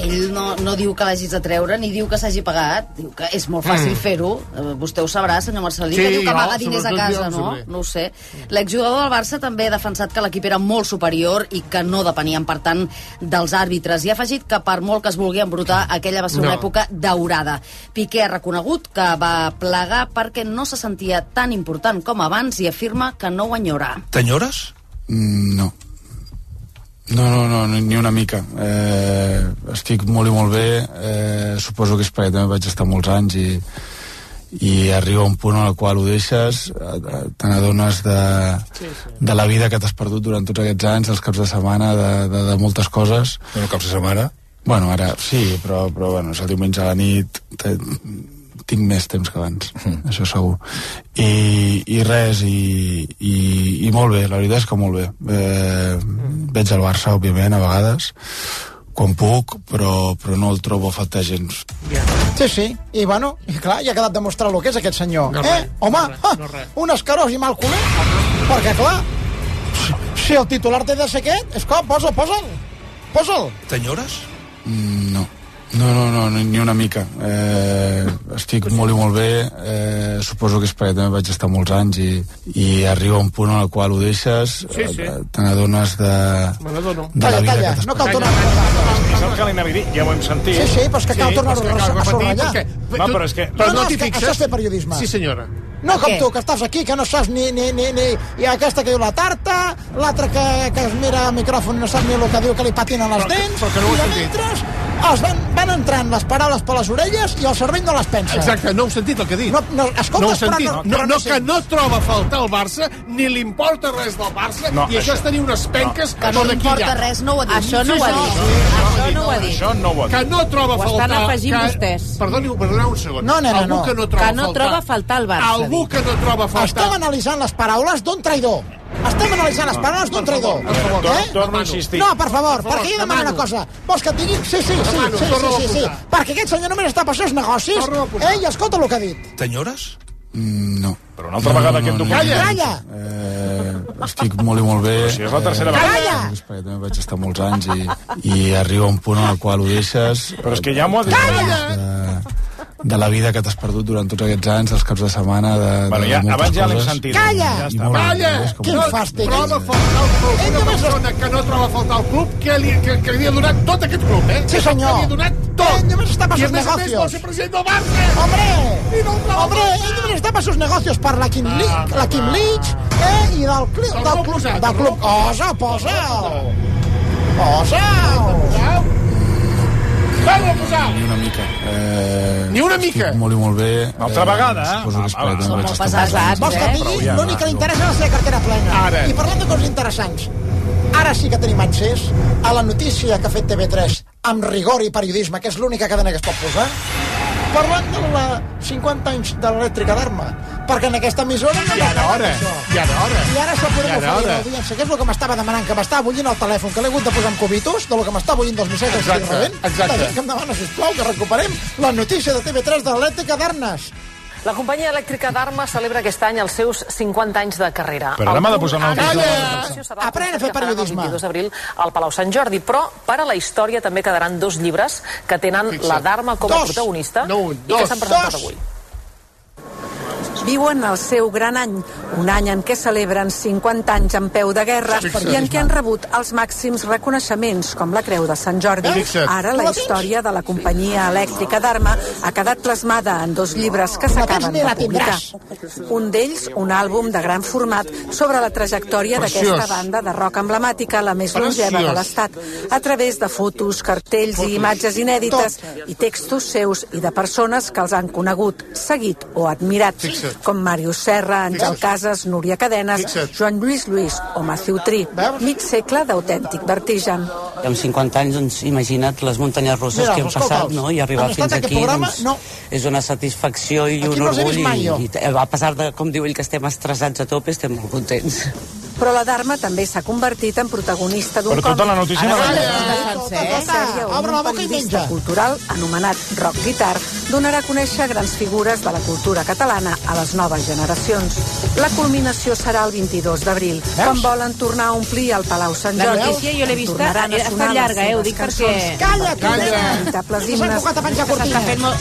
Ell no, no diu que l'hagis de treure, ni diu que s'hagi pagat. Diu que és molt fàcil
Mm.
mm. fer-ho. Eh, Vostè ho sabrà, senyor Marcelí,
Sí,
que diu que
jo,
amaga diners a
sobretot jo
casa,
ho
no?
sabré.
No ho sé. L'exjugador del Barça també ha defensat que l'equip era molt superior i que no depenien, per tant, dels àrbitres. I ha afegit que, per molt que es vulgui embrutar, aquella va ser
No.
una època daurada. Piqué ha reconegut que va plegar perquè no se sentia tan important com abans i afirma que no ho enyora.
T'enyores?
Mm, No. No, no, no, ni- ni una mica. Eh, estic molt i molt bé. Eh, suposo que és perquè també vaig estar molts anys i, i arriba un punt en el qual ho deixes, eh, eh, te n'adones de, de la vida que t'has perdut durant tots aquests anys, dels caps de setmana, de, de, de moltes coses. Bueno, caps de setmana? Bueno, ara sí, però, però bueno, és el diumenge a la nit, te, tinc més temps que abans, mm. això segur. I, i res, i, i, i molt bé, la veritat és que molt bé. Eh, Veig el Barça, òbviament, a vegades, quan puc, però, però no el trobo a faltar gens.
Sí, sí. I, bueno, i clar, ja ha quedat demostrat el que és aquest senyor.
No
eh?
res,
Home,
no res,
ha,
no res.
un escarós i mal culer. Perquè, clar, si el titular té de ser aquest, esclar, posa, posa'l. Posa'l.
T'enyores?
Mm, No. No, no, no, ni- ni una mica. Eh, estic molt i molt bé. Eh, suposo que és perquè també vaig estar molts anys i, i arriba un punt en el qual ho deixes,
Sí, sí.
eh, te n'adones de,
Me n'adono.
de la vida que t'has
no cal tornar
És el que li anava a dir, ja ho hem sentit.
Sí, sí, però és que cal tornar-ho
però és que cal
a
repetir,
subratllar.
perquè- No, però és que...
Però no, no, és que això és fer periodisme.
Sí, senyora.
No com
Què?
tu, que estàs aquí, que no saps ni... ni, ni, ni i aquesta que diu la tarta, l'altra que, que es mira al micròfon i no sap ni el que diu que li patinen els dents, però que no i a mentre es van, van entrant les paraules per les orelles i el cervell no les pensa.
Exacte, no heu sentit el que he dit.
No, no, escolta,
no heu sentit.
Però,
No, no, que no troba a faltar el Barça, ni li importa res del Barça,
No,
i això,
això-
és tenir unes penques
no. Que no
de qui
importa
hi ha.
res, no ho ha dit.
Això no ho ha dit. Això no ho ha dit.
Això no ho ha dit.
Que no troba
Ho
a
estan
faltar...
afegint
que...
vostès.
Perdoni, perdoneu un segon.
No, nena,
Algú
no.
que no troba
Que no troba a faltar el Barça,
Algú que no troba a faltar...
Estem analitzant les paraules d'un traïdor. Estem analitzant
Ah.
les paraules d'un traïdor. Eh?
Tor- Torno a insistir.
No, per favor, perquè jo demano una cosa. Vols que et digui? Sí, sí, sí,
Demano,
sí, sí,
torna-ho a
sí, sí.
posar.
Perquè aquest senyor només està per els seus negocis. Eh, i escolta el que ha dit.
T'enyores?
Mm, No.
Però una altra vegada aquest document...
Calla! Calla!
Eh, estic molt i molt bé.
si és la tercera
Eh,
vegada.
suposo que és perquè també vaig estar molts anys i, i arriba un punt en el qual ho deixes...
Però és que ja m'ho ha dit.
Calla! de la vida que t'has perdut durant tots aquests anys, dels caps de setmana, de,
Bueno,
de,
ja-
de moltes
abans ja l'hem
coses.
sentit.
Calla!
I molt
Calla!
bé, és com-
Quin fàstic! Troba a faltar el club. Una persona que no troba a faltar el club, que li, que, que li ha donat tot aquest club, eh?
Sí, senyor.
Que li ha donat tot.
Ell només està per
I a
sus
més a més
negocios.
vol ser president del Barça.
Hombre, hombre, ell només està per sus negocios, per la
Ah,
Kim Leach, la Kim Leach, eh, i del, cli, del, del club, del club. Posa, posa. Posa.
Feu-ho posar!
Ni una mica. Eh,
Ni una
estic
mica?
Molt i molt bé. Una
altra vegada, eh?
Suposo que eh? esperat, no vaig estar molt temps.
eh? Vols que pilli? L'únic que li interessa és la seva cartera plena.
Ara.
I parlant de coses interessants, ara sí que tenim accés a la notícia que ha fet TV3 amb rigor i periodisme, que és l'única cadena que es pot posar, parlant de la 50 anys de l'elèctrica d'arma, perquè en aquesta emissora no
I ara
parlen
hora,
d'això.
i ara hora.
I ara això ho podem
I ara
oferir a
hora.
l'audiència, que és el que m'estava demanant, que m'estava bullint el telèfon, que l'he hagut de posar amb cubitos, del que m'està bullint dels missatges que
Exacte,
estic rebent.
exacte.
La gent que em demana, sisplau, que recuperem la notícia de TV3 de l'elèctrica d'Arnes.
La companyia elèctrica d'Arma celebra aquest any els seus 50 anys de carrera.
Però ara
El
m'ha de
punt
posar una
ara
notícia.
de la celebració serà el
Aprèn a fer
concert que faran el
periodisme.
22 d'abril al Palau Sant Jordi, però per a la història també quedaran dos llibres que tenen la d'Arma com a
Dos.
protagonista
No un,
i que
dos.
s'han presentat
Dos.
avui.
Viuen el seu gran any, un any en què celebren 50 anys en peu de guerra Fixa't. i en què han rebut els màxims reconeixements, com la Creu de Sant Jordi. Fixa't. Ara Tu la la tens? història de la companyia elèctrica d'Arma ha quedat plasmada en dos llibres que Tu la tens s'acaben ni de la publicar. Un d'ells, un àlbum de gran format sobre la trajectòria d'aquesta Preciós. banda de rock emblemàtica, la més longeva de Preciós. l'Estat, a través de fotos, cartells i imatges inèdites i textos seus i de persones que els han conegut, seguit o admirat, Fixa't. com Màrius Serra, Àngel Fixa't. Casas, Núria Cadenes, Joan Lluís Lluís o Matthew Tri. Mig segle d'autèntic vertigen.
Amb 50 anys, doncs, imagina't les muntanyes russes
Mira,
que hem
escolta'ls.
passat, no? I arribar
Han estat
fins
aquest
aquí,
programa?
doncs,
No.
és una satisfacció i
Aquí
un
no els he
orgull.
vist mai, jo.
i, i, a pesar de, com diu ell, que estem estressats a tope, estem molt contents.
Però la Dharma també s'ha convertit en protagonista d'un
Però tota la notícia no
Ara s'ha
la
de
veig.
desplaçar-se, tota, eh? tota. on Obre la un boca i periodista menja. cultural anomenat Rock Guitar donarà a conèixer grans figures de la cultura catalana a les noves generacions. La culminació serà el 22 d'abril, quan volen tornar a omplir el Palau Sant
La
Jordi.
notícia jo l'he vista,
Tornaran a
ha estat
sonar les
llarga, eh,
seves
ho dic
cançons.
perquè-
Calla, tu!
Calla.
Calla!
S'ha enfocat a penjar cortines. S'està fent molt-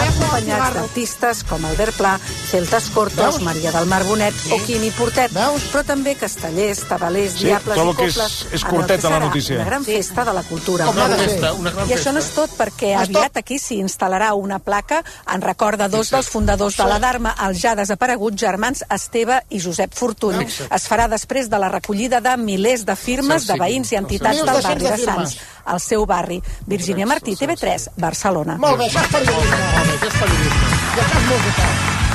acompanyats d'artistes com Albert Pla, Celtas Cortos, Veus? Maria del Mar Bonet o Quimi Portet, però també castellers, tabalers,
Sí,
diables
tot
i
el que és-
cobles,
és
en el
curteta,
que
la
serà
notícia.
Una gran festa de la cultura.
Com ha de Una ser. festa, una gran
I això
festa.
no és tot, perquè aviat aquí s'hi instal·larà una placa en record de dos dels fundadors de la Dharma, els ja desapareguts germans Esteve i Josep Fortuny. Fixa't. Es farà després de la recollida de milers de firmes Sí, sí. de veïns i entitats del 1.200 barri de de firmes. Sants, al seu barri. Virgínia Martí, TV3, Barcelona.
Molt bé, això és periodisme. Molt bé, això és periodisme. I això és música.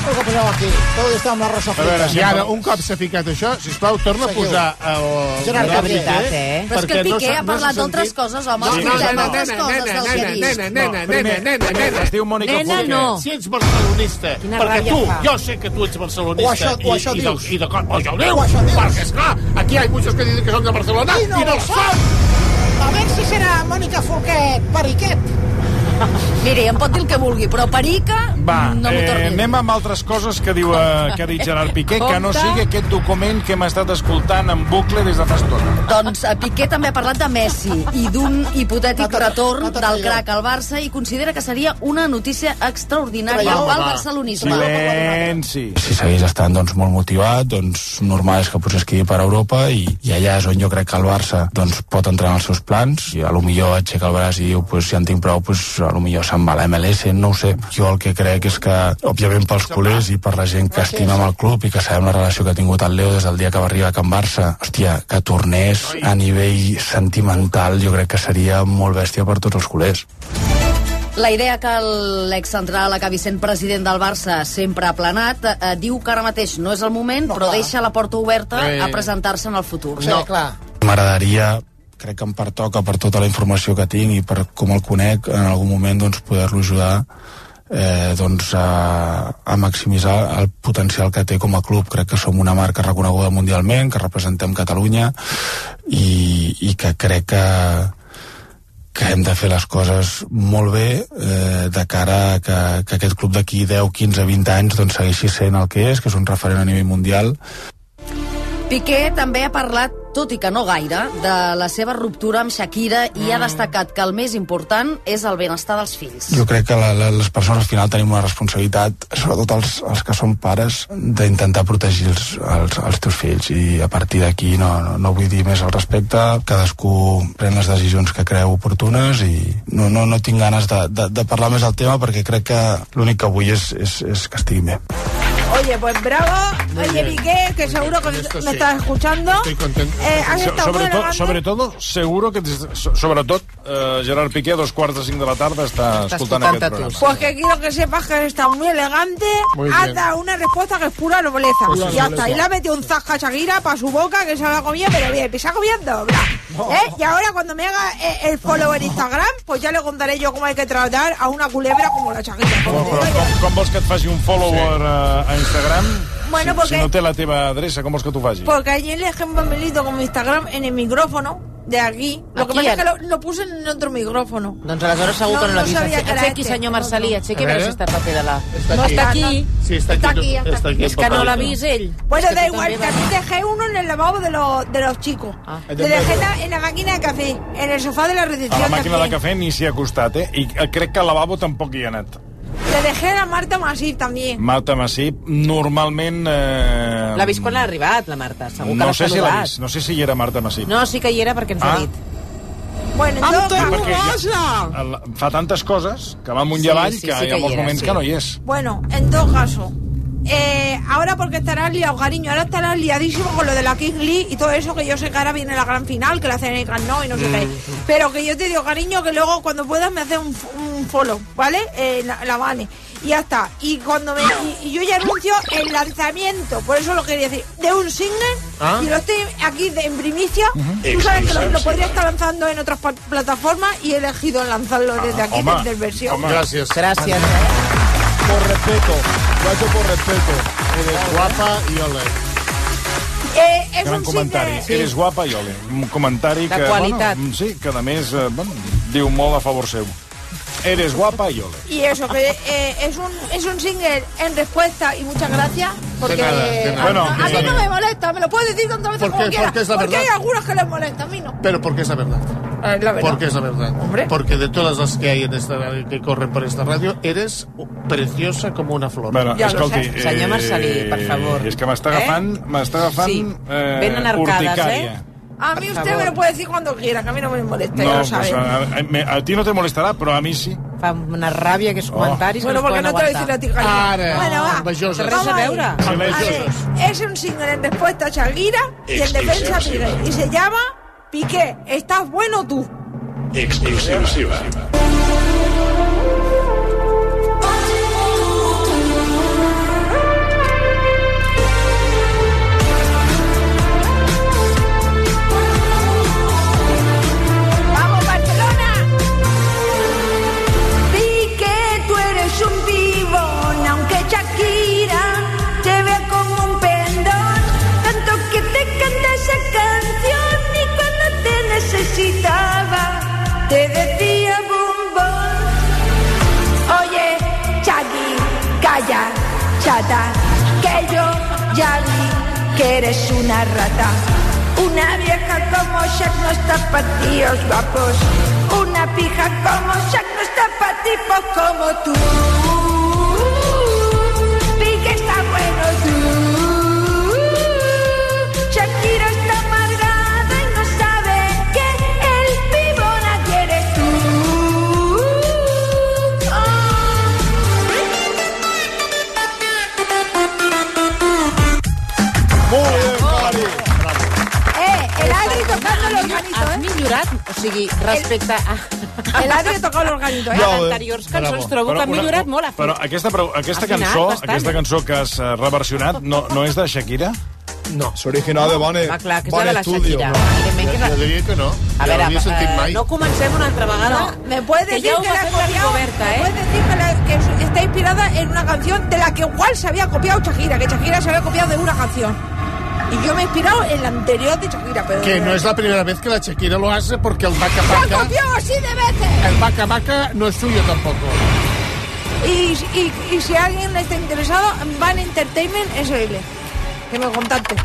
El que poseu aquí. Tot i estar amb la Rosa
A veure,
Frita.
i ara, un cop s'ha ficat això, sisplau, torna a
Seguiu.
posar el...
Gerard eh?
Gerard
Piqué.
Piqué,
Però és que
perquè
el Piqué
s'ha-
ha parlat
s'ha
d'altres
sentit.
coses, home,
No,
ha
no,
explicat
no, no,
d'altres
nena,
coses
nena,
del que
nena,
ha vist.
nena, nena,
No,
nena,
primer,
nena, nena.
es diu Mònica
Nena,
Folquer.
no. Si ets barcelonista,
Quina
perquè
ràbia
tu,
fa.
jo sé que tu ets barcelonista
O això- o
i-
això
i de-
dius.
i de cor- o això ho dius,
O això dius.
perquè, esclar, aquí hi ha muchos que dicen que són de Barcelona
I no
i no
ho
ho
són. A veure si serà Mònica Forquet, Periquet.
Miri, em pot dir el que vulgui, però perica...
Va,
no m'ho
eh,
torni.
anem amb altres coses que diu eh, que ha dit Gerard Piqué, que no
Compte.
sigui aquest document que hem estat escoltant en bucle des de fa estona.
Doncs eh, Piqué també ha parlat de Messi i d'un hipotètic retorn del crac al Barça i considera que seria una notícia extraordinària
Home,
pel
va.
barcelonisme.
Silenci.
si segueix estant doncs, molt motivat, doncs normal és que potser es quedi per Europa i, i allà és on jo crec que el Barça doncs, pot entrar en els seus plans i a lo millor aixeca el braç i diu pues, si en tinc prou, pues, a lo millor se'n va a la MLS, no ho sé. Jo el que crec és que, òbviament pels culers i per la gent que estima amb el club i que sabem la relació que ha tingut el Leo des del dia que va arribar a Can Barça, hòstia, que tornés a nivell sentimental jo crec que seria molt bèstia per tots els culers.
La idea que l'excentral acabi sent president del Barça sempre aplanat eh, diu que ara mateix no és el moment, però deixa la porta oberta
Eh.
a presentar-se en el futur.
Sí, No.
clar.
M'agradaria, crec que em pertoca per tota la informació que tinc i per com el conec, en algun moment doncs, poder-lo ajudar eh, doncs, a, a maximitzar el potencial que té com a club. Crec que som una marca reconeguda mundialment, que representem Catalunya i, i que crec que, que hem de fer les coses molt bé eh, de cara a que, que aquest club d'aquí 10, 15, 20 anys doncs, segueixi sent el que és, que és un referent a nivell mundial
Piqué també ha parlat tot i que no gaire, de la seva ruptura amb Shakira i ha destacat que el més important és el benestar dels fills.
Jo crec que la, la, les persones al final tenim una responsabilitat, sobretot els, els que són pares, d'intentar protegir els, els, els teus fills i a partir d'aquí no, no, no vull dir més al respecte, cadascú pren les decisions que creu oportunes i no, no, no tinc ganes de, de, de parlar més del tema perquè crec que l'únic que vull és, és, és que estiguin bé.
Oye, pues bravo.
Muy
Oye,
bien.
Miguel, que seguro que
esto
me
sí.
estás escuchando.
Estoy contento.
Eh, has
So-
estado
sobre,
buena
to,
banda.
sobre todo, seguro que... des- so- Sobretot, eh, Gerard Piqué, a dos quarts de cinc de la tarda, està escoltant aquest programa.
Pues que quiero que sepas que está muy elegante.
Muy
has
bien.
dado una respuesta que es pura nobleza.
Pues sí,
y hasta
nobleza.
ahí le ha metido un zasca a Shakira para su boca que se la ha comido, pero bien, que se ha comiendo. bla.
Oh.
¿Eh? Y ahora cuando me haga eh, el follow en Instagram, pues ya le contaré yo cómo hay que tratar a una culebra como la Shakira.
Però, però, com, com vols que et faci un follower sí. a, a Instagram?
Bueno,
si,
porque-
si no té la teva adreça, com vols que t'ho faci?
Porque ayer le dejé un papelito con mi Instagram en el micrófono de aquí. Lo que
Aquí,
pasa es que lo,
en-
lo puse en otro micrófono.
Doncs aleshores segur que no l'ha vist.
sabia que era
Aixequi,
este.
senyor Marcelí, aixequi
A
a veure
veure.
si està el paper de la...
Está
no
aquí.
està aquí.
Sí, está aquí, está aquí el
És que no
papelito.
l'ha vist ell.
Bueno,
És que
Pues da
tu
igual,
també
que a mí dejé uno en el lavabo de, los de los chicos.
Ah.
Le dejé en la, en la máquina de café, en el sofá de la
A
recepción.
la màquina de
también.
cafè ni s'hi ha acostat, eh? I eh, crec que al lavabo tampoc hi ha anat.
Le dejé a Marta Masip también.
Marta Massip, normalment... Eh...
L'ha vist quan l'ha arribat, la Marta. Segur que
no
l'ha
sé si l'ha
saludat.
vist, no sé si hi era Marta Massip.
No, sí que hi era perquè ens
Ah.
ha dit.
Bueno,
Ah,
Sí, perquè ja, el- fa tantes coses que va amunt i
Sí,
avall
sí, sí
que hi
que
ha
hi
molts
era,
moments
sí.
que no hi és.
Bueno, en todo caso. eh, ahora porque estarás liado, cariño, ahora estarás liadísimo con lo de la King Lee y todo eso, que yo sé que ahora viene la gran final, que la hacen en el Camp Nou y no sé qué. Pero que yo te digo, cariño, que luego cuando puedas me haces un, f- un follow, ¿vale? Eh, la, la Vane. Y ya está. Y cuando me. Y, y yo ya anuncio el lanzamiento, por eso lo quería decir, de un single.
Ah.
Y lo estoy aquí de- en primicia. Tú sabes que lo, lo podría estar lanzando en otras pa- plataformas y he elegido lanzarlo desde aquí,
home,
desde el versión.
home. Gràcies.
Gràcies.
Por respeto, lo ha hecho por respeto. Eres guapa y ole.
Eh, es
Gran
un
comentari.
single.
Eres guapa i ole. Un comentari
De
que...
qualitat.
Bueno, mm, sí, que a més eh, bueno, diu molt a favor seu. Eres guapa i ole.
Y eso, que eh, es, un, es un single en respuesta y muchas gracias. Porque
De nada, de nada.
a, mí no-
Bueno,
a mí
que-
no me molesta, me lo puedes decir tantas veces
Porque-
como quieras.
porque es la
hay
verdad.
algunos que les molesta, a mí no.
Pero porque es la verdad.
Ah, la verdad.
Porque es la verdad. Porque de todas las que hay en esta que corren por esta radio, eres preciosa como una flor.
Bueno, escolti, eh,
Senyor Marcelí, per favor.
És que m'està agafant, eh? m'està agafant
Sí.
eh,
Venen arcades,
urticària.
A mí
Por
usted
favor.
me lo puede decir cuando quiera, que a mí no me molesta,
No,
ya lo
pues,
sabes.
a, a, me- a ti no te molestarà, però a mi sí.
Fa una ràbia
Oh.
aquests comentaris
Bueno,
que
porque
no
no
es
te lo
poden
voy a decir a
aguantar.
ti, cariño. Bueno, va.
Té res a veure.
A ver, es un single en respuesta a Shakira y en defensa a
Exclusiva.
Piqué. Y se llama Piqué, ¿estás bueno tú?
Exclusiva.
¡Vamos, Barcelona! Vi que tú eres un vivón, aunque Shakira te vea como un pendón. Tanto que te canta esa canción y cuando te necesitaba te decía bombón. Oye, Shaggy, calla, chata, que yo ya vi que eres una rata. Una vieja como Shaq no está pa' tíos guapos. Una pija como Shaq no está pa' tipos como tú. Vi que está bueno tú. Shakira está amargada y no sabe que el pibón aquí eres tú. Oh.
Molt bé, Cori.
Eh, el Adri tocando el organito, ¿eh?
Has millorat, o sigui, respecte a...
El Adri toca l'organito,
eh?
Ja
Ja,
ho-
anteriors
Bravo.
cançons trobo
Però
que ha
una-
millorat molt.
Però aquesta, però aquesta,
Afinat
cançó,
bastant.
aquesta cançó que has eh, reversionat no, no és de Shakira?
No.
És original de Bone,
Va, clar, que és la de la Shakira. Evidentment que és la-
Jo diria que no.
A
ja
veure,
l'havia sentit
eh,
mai.
no comencem una altra vegada.
No, me puede
Que
decir
ja ho
que,
va
la
fer
ha
la
copiado,
Rigoberta,
me
eh?
puede decir que, la- que es- está inspirada en una canción de la que igual se había copiado Shakira, que Shakira se había copiado de una canción. Y yo me he inspirado en la anterior de Shakira, pero...
Que no es la primera vez que la Shakira lo hace porque el vaca
¡Se ha
vaca,
copiado así de veces!
el vaca vaca no es suyo tampoco.
Y, y- y si alguien está interesado, Van Entertainment SL. Que me contacte.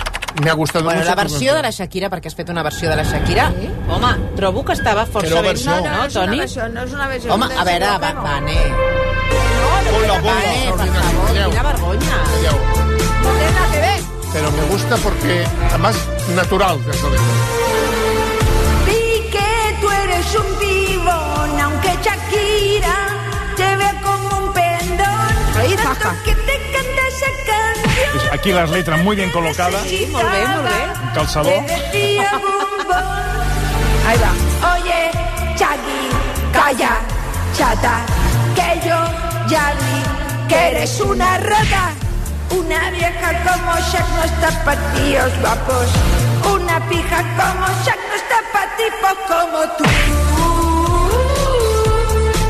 Me ha gustat
Bueno,
mucho
la
tu
versió de la Shakira, perquè has fet una versió de la Shakira, home, trobo que estava
Que
força
no
ben,
versió. No,
no,
no,
no,
és una
Toni?
versió, no és una versió.
Home, a veure, va, va, Vané. No, no, Vané, per favor, quina vergonya.
No té nada que ver.
Pero me gusta porque, además, natural de Soledad.
Vi que tú eres un divón, aunque Shakira te ve como un pendón.
Ahí
Tanto
baja.
que te canta esa canción.
Aquí las letras muy bien colocadas.
Sí, molt bé, molt bé.
Un calçador.
Ahí va. Oye, Chagui, calla, chata, que yo, Yanni, que eres una rata. Una vieja como Shaq no está pa' tíos guapos. Una pija como Shaq no está pa' tipos como tú.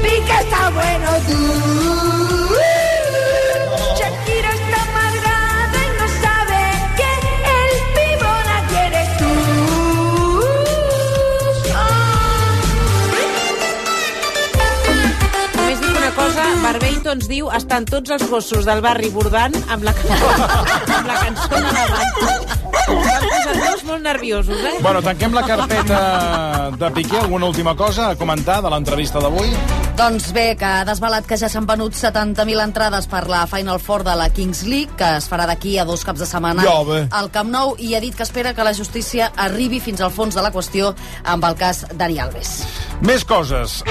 Pica está bueno tú. Shakira está amargada y no sabe que el pibón aquí eres tú.
Només dic una cosa, Barbeito ens diu estan tots els gossos del barri bordant amb la, amb la cançó de la banda. Estan posant tots molt nerviosos, eh?
Bueno, tanquem la carpeta de Piqué. Alguna última cosa a comentar de l'entrevista d'avui?
Doncs bé, que ha desvelat que ja s'han venut 70.000 entrades per la Final Four de la Kings League, que es farà d'aquí a dos caps de setmana
Ja, bé.
al Camp Nou, i ha dit que espera que la justícia arribi fins al fons de la qüestió amb el cas Dani Alves.
Més coses. Uh,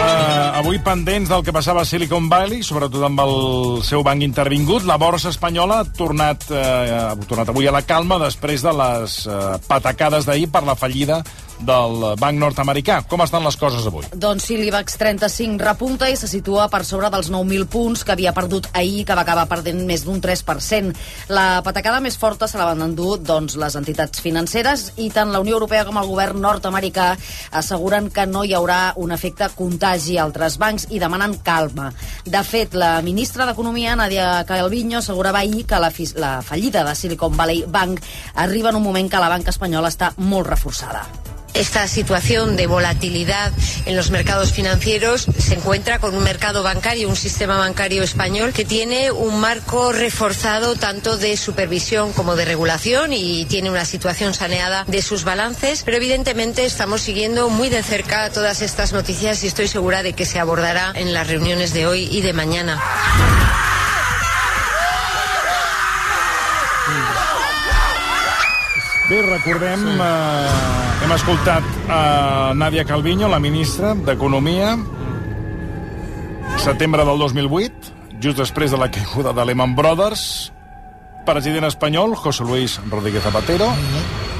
avui pendents del que passava a Silicon Valley, sobretot amb el seu banc intervingut, la borsa espanyola ha tornat, uh, ha tornat avui a la calma després de les uh, patacades d'ahir per la fallida del banc nord-americà. Com estan les coses avui?
Doncs sí, l'IBEX 35 repunta i se situa per sobre dels 9.000 punts que havia perdut ahir, que va acabar perdent més d'un 3%. La patacada més forta se la van endur doncs, les entitats financeres i tant la Unió Europea com el govern nord-americà asseguren que no hi haurà un efecte contagi a altres bancs i demanen calma. De fet, la ministra d'Economia, Nadia Calviño, assegurava ahir que la, fis- la fallida de Silicon Valley Bank arriba en un moment que la banca espanyola està molt reforçada.
Esta situación de volatilidad en los mercados financieros se encuentra con un mercado bancario, un sistema bancario español que tiene un marco reforzado tanto de supervisión como de regulación y tiene una situación saneada de sus balances. Pero evidentemente estamos siguiendo muy de cerca todas estas noticias y estoy segura de que se abordará en las reuniones de hoy y de mañana.
Bé, recordem, sí. eh, hem escoltat a eh, Nadia Calviño, la ministra d'Economia, setembre del 2008, just després de la caiguda de Lehman Brothers, president espanyol, José Luis Rodríguez Zapatero,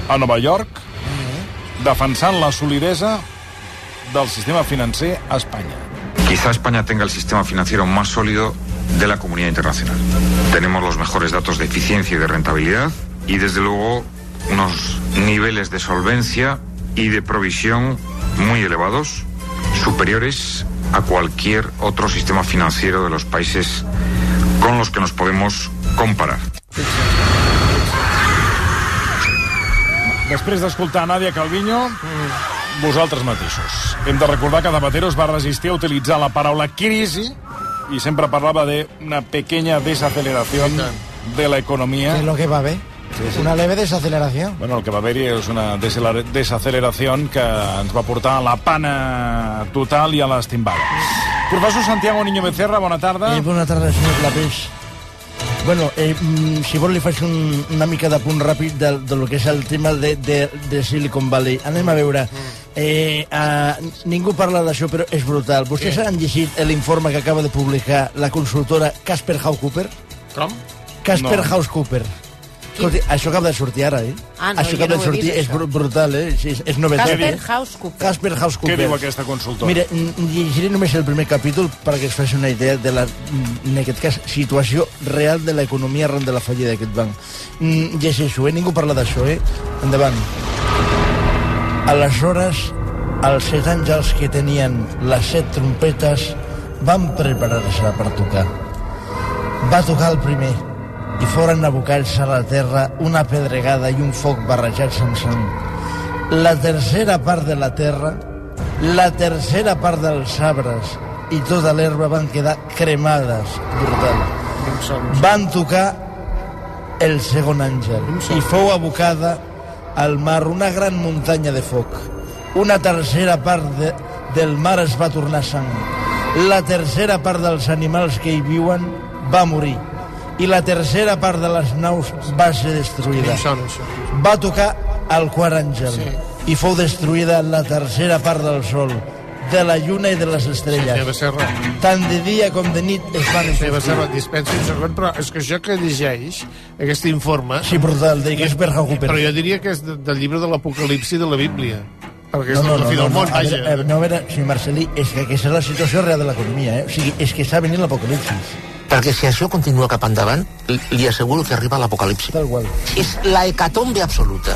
a Nova York, defensant la solidesa del sistema financer a Espanya.
Quizá España tenga el sistema financiero más sólido de la comunidad internacional. Tenemos los mejores datos de eficiencia y de rentabilidad y desde luego unos niveles de solvencia y de provisión muy elevados, superiores a cualquier otro sistema financiero de los países con los que nos podemos comparar.
Després d'escoltar Nadia Calviño, vosaltres mateixos. Hem de recordar que Zapatero es va resistir a utilitzar la paraula crisi i sempre parlava de una pequeña desaceleració de la economia.
Que es lo que va a haber. Una leve desaceleración.
Bueno, el que va haver-hi és una desaceler- desaceleració que ens va portar a la pana total i a les timbades. Professor Santiago Niño Becerra, bona tarda.
Eh, bona tarda, senyor Clapés. Bueno, eh, mm, si vol li faig un, una mica de punt ràpid de, de lo que és el tema de, de, de Silicon Valley. Anem a veure.
Mm.
Eh, a, ningú parla d'això, però és brutal. Vostès han llegit l'informe que acaba de publicar la consultora Casper Haucooper?
Com?
Casper
No.
no. Haucooper. Escolti, això acaba de sortir ara, eh?
Ah, no,
això
jo
acaba
no ho
de
he
sortir,
vist,
és
això.
br brutal, eh? És, és, és novetat.
Casper
eh?
Housecup.
Casper Housecuper.
Què diu aquesta consultora?
Mira, n- llegiré només el primer capítol perquè us faci una idea de la, en aquest cas, situació real de l'economia arran de la fallida d'aquest banc. Mm, Llegeixo, eh? Ningú parla d'això, eh? Endavant. Aleshores, els set àngels que tenien les set trompetes van preparar-se per tocar. Va tocar el primer i foren abocats a la terra una pedregada i un foc barrejats en sang. La tercera part de la terra, la tercera part dels arbres i tota l'herba van quedar cremades. Brutal. Van tocar el segon àngel i fou abocada al mar una gran muntanya de foc. Una tercera part de, del mar es va tornar sang. La tercera part dels animals que hi viuen va morir i la tercera part de les naus va ser destruïda. Va tocar al quart àngel sí. i fou destruïda la tercera part del sol, de la lluna i de les
Sí,
estrelles.
Becerra.
Tant de dia com de nit es van
Sí, Becerra,
ensortir.
dispensi un segon, però és que això que llegeix, aquest informe...
Sí, brutal, de Gisbert Hooper.
Però jo diria que és de, del llibre de l'Apocalipsi de la Bíblia. Perquè és
No, no,
el
no,
fi
no,
del
no,
món,
a veure, eh,
vaja.
a veure, no, a veure, senyor Marcelí, és que aquesta és la situació real de l'economia, eh? O sigui, és que està venint l'apocalipsis.
Perquè si això continua cap endavant, li- li asseguro que arriba l'apocalipsi.
Tal qual.
És la hecatombe absoluta.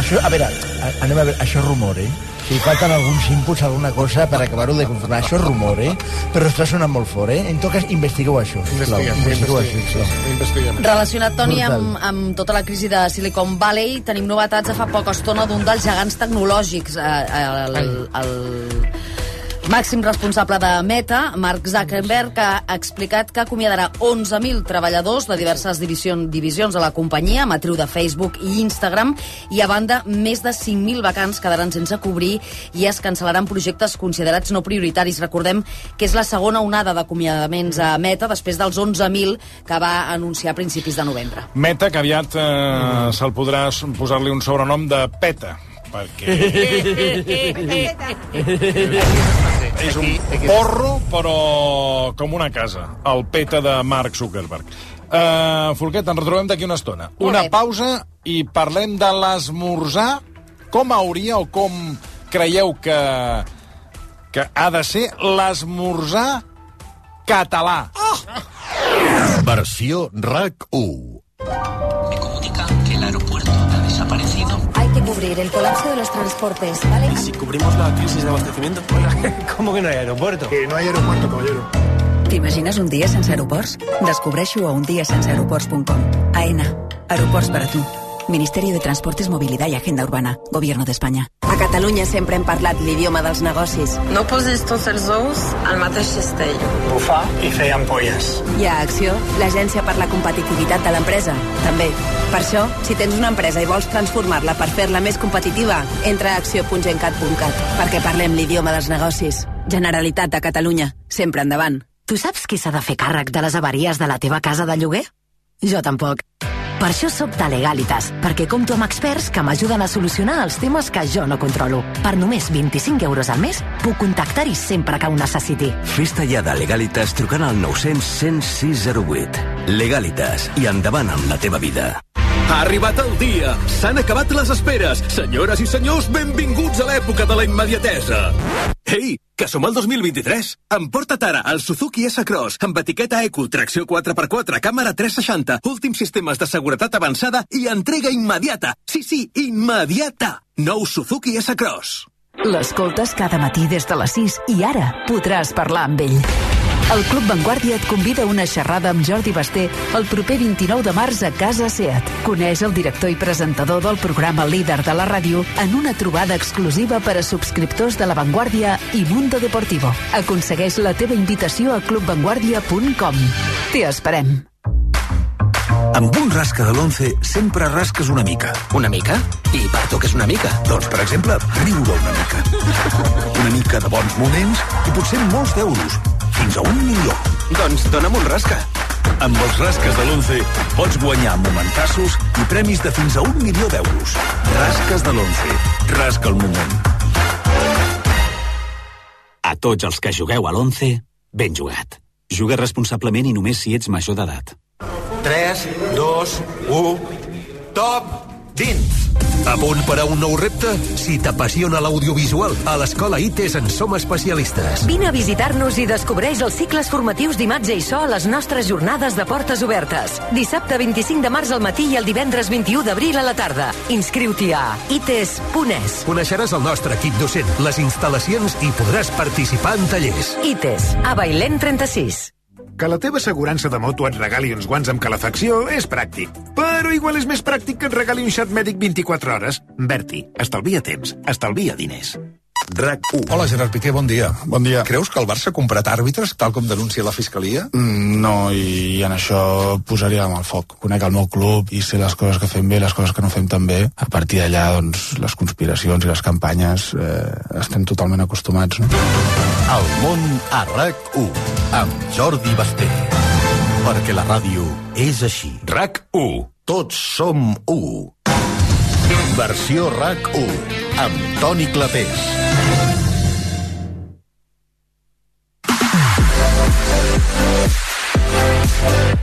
Això, a veure, a- anem a veure, això és rumor, eh? O sigui, falten alguns inputs, alguna cosa per acabar-ho de confirmar. Això és rumor, eh? Però està sonant molt fort, eh? En tot cas, investigueu això, sisplau.
Investiguem,
Investigueu això,
investiguem,
sisplau.
investiguem.
Relacionat, Toni,
Brutal.
amb, amb tota la crisi de Silicon Valley, tenim novetats de fa poca estona d'un dels gegants tecnològics. eh, El, el, el màxim responsable de Meta, Mark Zuckerberg, ha explicat que acomiadarà 11.000 treballadors de diverses divisions, divisions de la companyia, matriu de Facebook i Instagram, i a banda, més de 5.000 vacants quedaran sense cobrir i es cancel·laran projectes considerats no prioritaris. Recordem que és la segona onada d'acomiadaments a Meta després dels 11.000 que va anunciar a principis de novembre.
Meta, que aviat eh, se'l podrà s- posar-li un sobrenom de Peta,
eh,
perquè... És un porro, però com una casa. El Peta de Mark Zuckerberg. Uh, Folquet, ens retrobem d'aquí una estona. Una pausa i parlem de l'esmorzar. Com hauria o com creieu que, que ha de ser l'esmorzar català?
Versió RAC1.
Hay que cubrir el colapso de los transportes, ¿vale?
Si cubrimos la crisis de abastecimiento... ¿Cómo que no hay aeropuerto? Que no hay aeropuerto, caballero.
T'imagines un dia sense aeroports? Descobreixo a undiasenseaeroports.com. AENA. Aeroports para tu. Ministeri de Transportes, Movilidad y Agenda Urbana. Gobierno de España.
A Catalunya sempre hem parlat l'idioma dels negocis.
No posis tots els ous al mateix cestell.
Bufar i fer ampolles.
I a Acció, l'Agència per la Competitivitat de l'Empresa, també. Per això, si tens una empresa i vols transformar-la per fer-la més competitiva, entra a acció.gencat.cat, perquè parlem l'idioma dels negocis. Generalitat de Catalunya, sempre endavant. Tu saps qui s'ha de fer càrrec de les avaries de la teva casa de lloguer? Jo tampoc. Per això sóc de Legalitas, perquè compto amb experts que m'ajuden a solucionar els temes que jo no controlo. Per només 25 euros al mes puc contactar-hi sempre que ho necessiti.
Fes-te ja de Legalitas trucant al 900 106 08. Legalitas i endavant amb la teva vida.
Ha arribat el dia. S'han acabat les esperes. Senyores i senyors, benvinguts a l'època de la immediatesa. Ei, que som al 2023. Emporta't ara el Suzuki S-Cross amb etiqueta Eco, tracció 4x4, càmera 360, últims sistemes de seguretat avançada i entrega immediata. Sí, sí, immediata. Nou Suzuki S-Cross.
L'escoltes cada matí des de les 6 i ara podràs parlar amb ell. El Club Vanguardia et convida a una xerrada amb Jordi Basté el proper 29 de març a Casa Seat. Coneix el director i presentador del programa Líder de la Ràdio en una trobada exclusiva per a subscriptors de La Vanguardia i Mundo Deportivo. Aconsegueix la teva invitació a clubvanguardia.com. T'hi esperem.
Amb un rasca de l'11 sempre rasques una mica. Una mica? I per tu què és una mica? Doncs, per exemple, riure una mica. Una mica de bons moments i potser molts d'euros. Fins a un milió. Doncs dona'm un rasca.
Amb els rasques de l'11 pots guanyar momentassos i premis de fins a un milió d'euros. Rasques de l'11. Rasca el moment.
A tots els que jugueu a l'11, ben jugat. Juga responsablement i només si ets major d'edat.
3, 2, 1... Top dins!
A punt per a un nou
repte?
Si t'apassiona l'audiovisual, a l'Escola ITES en som especialistes.
Vine a visitar-nos i descobreix els cicles formatius d'imatge i so a les nostres jornades de portes obertes. Dissabte 25 de març al matí i el divendres 21 d'abril a la tarda. Inscriu-t'hi a ites.es.
Coneixeràs el nostre equip docent, les instal·lacions i podràs participar en tallers.
ITES, a Bailén 36.
Que la teva assegurança de moto et regali uns guants amb calefacció és pràctic. Però igual és més pràctic que et regali un xat mèdic 24 hores. Berti, estalvia temps, estalvia diners.
RAC1. Hola, Gerard Piqué, bon dia. Bon dia. Creus que el Barça ha comprat àrbitres, tal com denuncia la Fiscalia?
Mm, No, i en això posaria la mà al foc. Conec el meu club i sé les coses que fem bé, les coses que no fem tan bé. A partir d'allà, doncs, les conspiracions i les campanyes eh, estem totalment acostumats, no?
El món a RAC1, amb Jordi Basté. Perquè la ràdio és així. RAC1. Tots som u. Versió RAC1, amb Toni Clapés.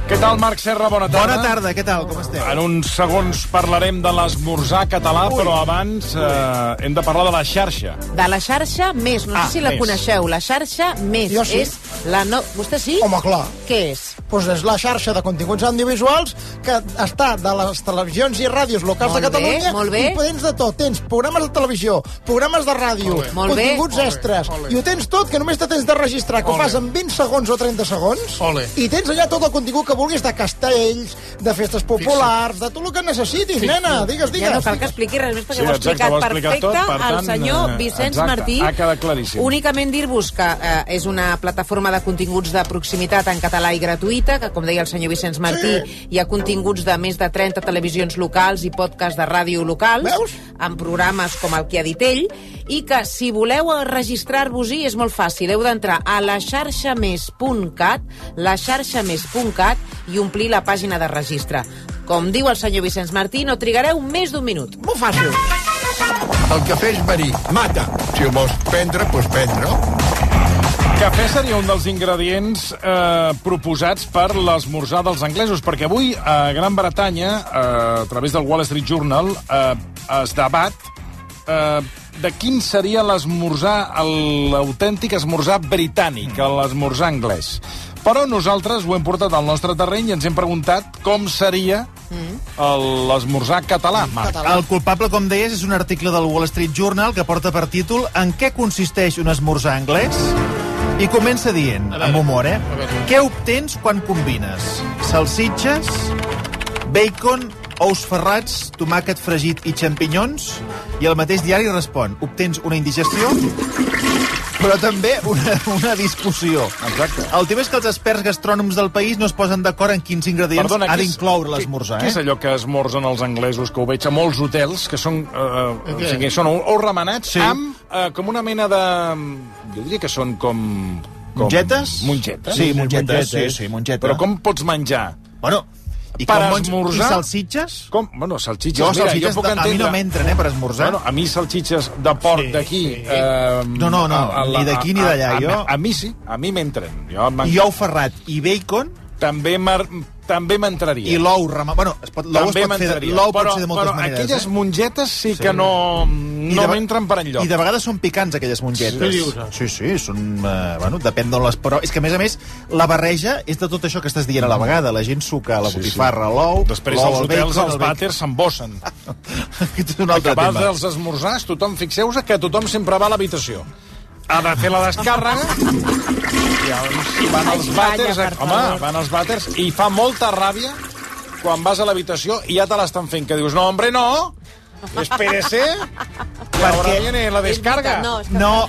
Què tal, Marc Serra? Bona tarda.
Bona tarda, què tal? Com esteu?
En uns segons parlarem de l'esmorzar català, Ui. però abans eh, hem de parlar de la xarxa.
De la xarxa més, no sé
Ah,
si la
Més.
coneixeu, la xarxa més
Jo sí.
és la no... Vostè sí?
Home, clar.
Què és?
Pues és la xarxa de continguts audiovisuals que està de les televisions i ràdios locals
Molt
de
bé,
Catalunya
molt bé.
i tens de tot. Tens programes de televisió, programes de ràdio,
Molt bé. Molt bé.
continguts
Ole,
extres, i ho tens tot, que només te tens de registrar, que
Ole.
ho fas en 20 segons o 30 segons,
Ole.
i tens allà tot el contingut que vulguis de castells, de festes populars, de tot el que necessitis,
Sí.
nena. Digues, digues.
Ja no cal que expliqui res més, perquè
Sí,
ho ha
exacte,
explicat
ho ha explicat
perfecte
tot, per
el
tant,
senyor
eh,
Vicenç
exacte,
Martí.
ha quedat claríssim.
Únicament dir-vos que eh, és una plataforma de continguts de proximitat en català i gratuïta, que, com deia el senyor Vicenç Martí, hi ha continguts de més de 30 televisions locals i podcast de ràdio locals, Veus? amb programes com el que ha dit ell, i que, si voleu registrar-vos-hi, és molt fàcil. Heu d'entrar a la xarxa més.cat, la xarxa més.cat, i omplir la pàgina de registre. Com diu el senyor Vicenç Martí, no trigareu més d'un minut.
Molt fàcil.
El cafè és verí. Mata. Si ho vols prendre, doncs prendre.
Cafè seria un dels ingredients eh, proposats per l'esmorzar dels anglesos, perquè avui a Gran Bretanya, eh, a través del Wall Street Journal, eh, es debat eh, de quin seria l'esmorzar, el- l'autèntic esmorzar britànic,
Mm.
l'esmorzar anglès. Però nosaltres ho hem portat al nostre terreny i ens hem preguntat com seria el- l'esmorzar català, Marc.
El culpable, com deies, és un article del Wall Street Journal que porta per títol En què consisteix un esmorzar anglès? I comença dient, amb humor, eh? Què obtens quan combines? Salsitxes, bacon, ous ferrats, tomàquet fregit i xampinyons? I el mateix diari respon, obtens una indigestió, però també una, una discussió.
Exacte.
El tema és que els experts gastrònoms del país no es posen d'acord en quins ingredients
Perdona,
ha
què és-
d'incloure
què-
l'esmorzar.
Què
eh?
és allò que esmorzen els anglesos, que ho veig a molts hotels, que són, eh, o
Què?
sigui, són ous remenats sí. amb eh, com una mena de... Jo diria que són com... com
Mongetes?
Mongetes.
Sí, mongetes, sí, sí, mongeta.
Però com pots menjar?
Bueno, i
per
com menjo-
esmorzar...
i salsitxes?
Com? Bueno, salsitxes,
Jo,
mira,
salsitxes
jo puc
de- a mi
entendre...
no m'entren, eh, per esmorzar.
Bueno, a mi salsitxes de porc d'aquí... Eh,
No, no, no, ni d'aquí ni d'allà,
a- a-
jo-
A mi sí, a mi m'entren. Jo m'en-
I ou ferrat i bacon...
També m'ar- també m'entraria.
I l'ou remat... Bueno, es pot, l'ou es
També
pot fer, de-
m'entraria.
l'ou pot
Però-
ser de moltes
però
maneres.
aquelles
eh?
mongetes sí que no- no
I de-
m'entren per enlloc.
I de vegades són picants, aquelles
Què
mongetes.
dius, eh?
Sí, sí, són... Eh, bueno, depèn d'on les... Però és que, a més a més, la barreja és de tot això que estàs dient a la vegada. La gent suca la botifarra, l'ou...
Mm. Després
l'ou,
als
el
hotels
bacon,
els
el bacon.
vàters s'embossen.
Aquest és un altre
Acabats
tema.
dels esmorzars, tothom, fixeu-vos que tothom sempre va a l'habitació. Ha de fer la descàrrega i llavors van als vàters, eh?
Espanya, per
home,
favor.
van als vàters i fa molta ràbia quan vas a l'habitació i ja te l'estan fent, que dius, no, hombre, no, espérese, que ahora viene la descarga.
No,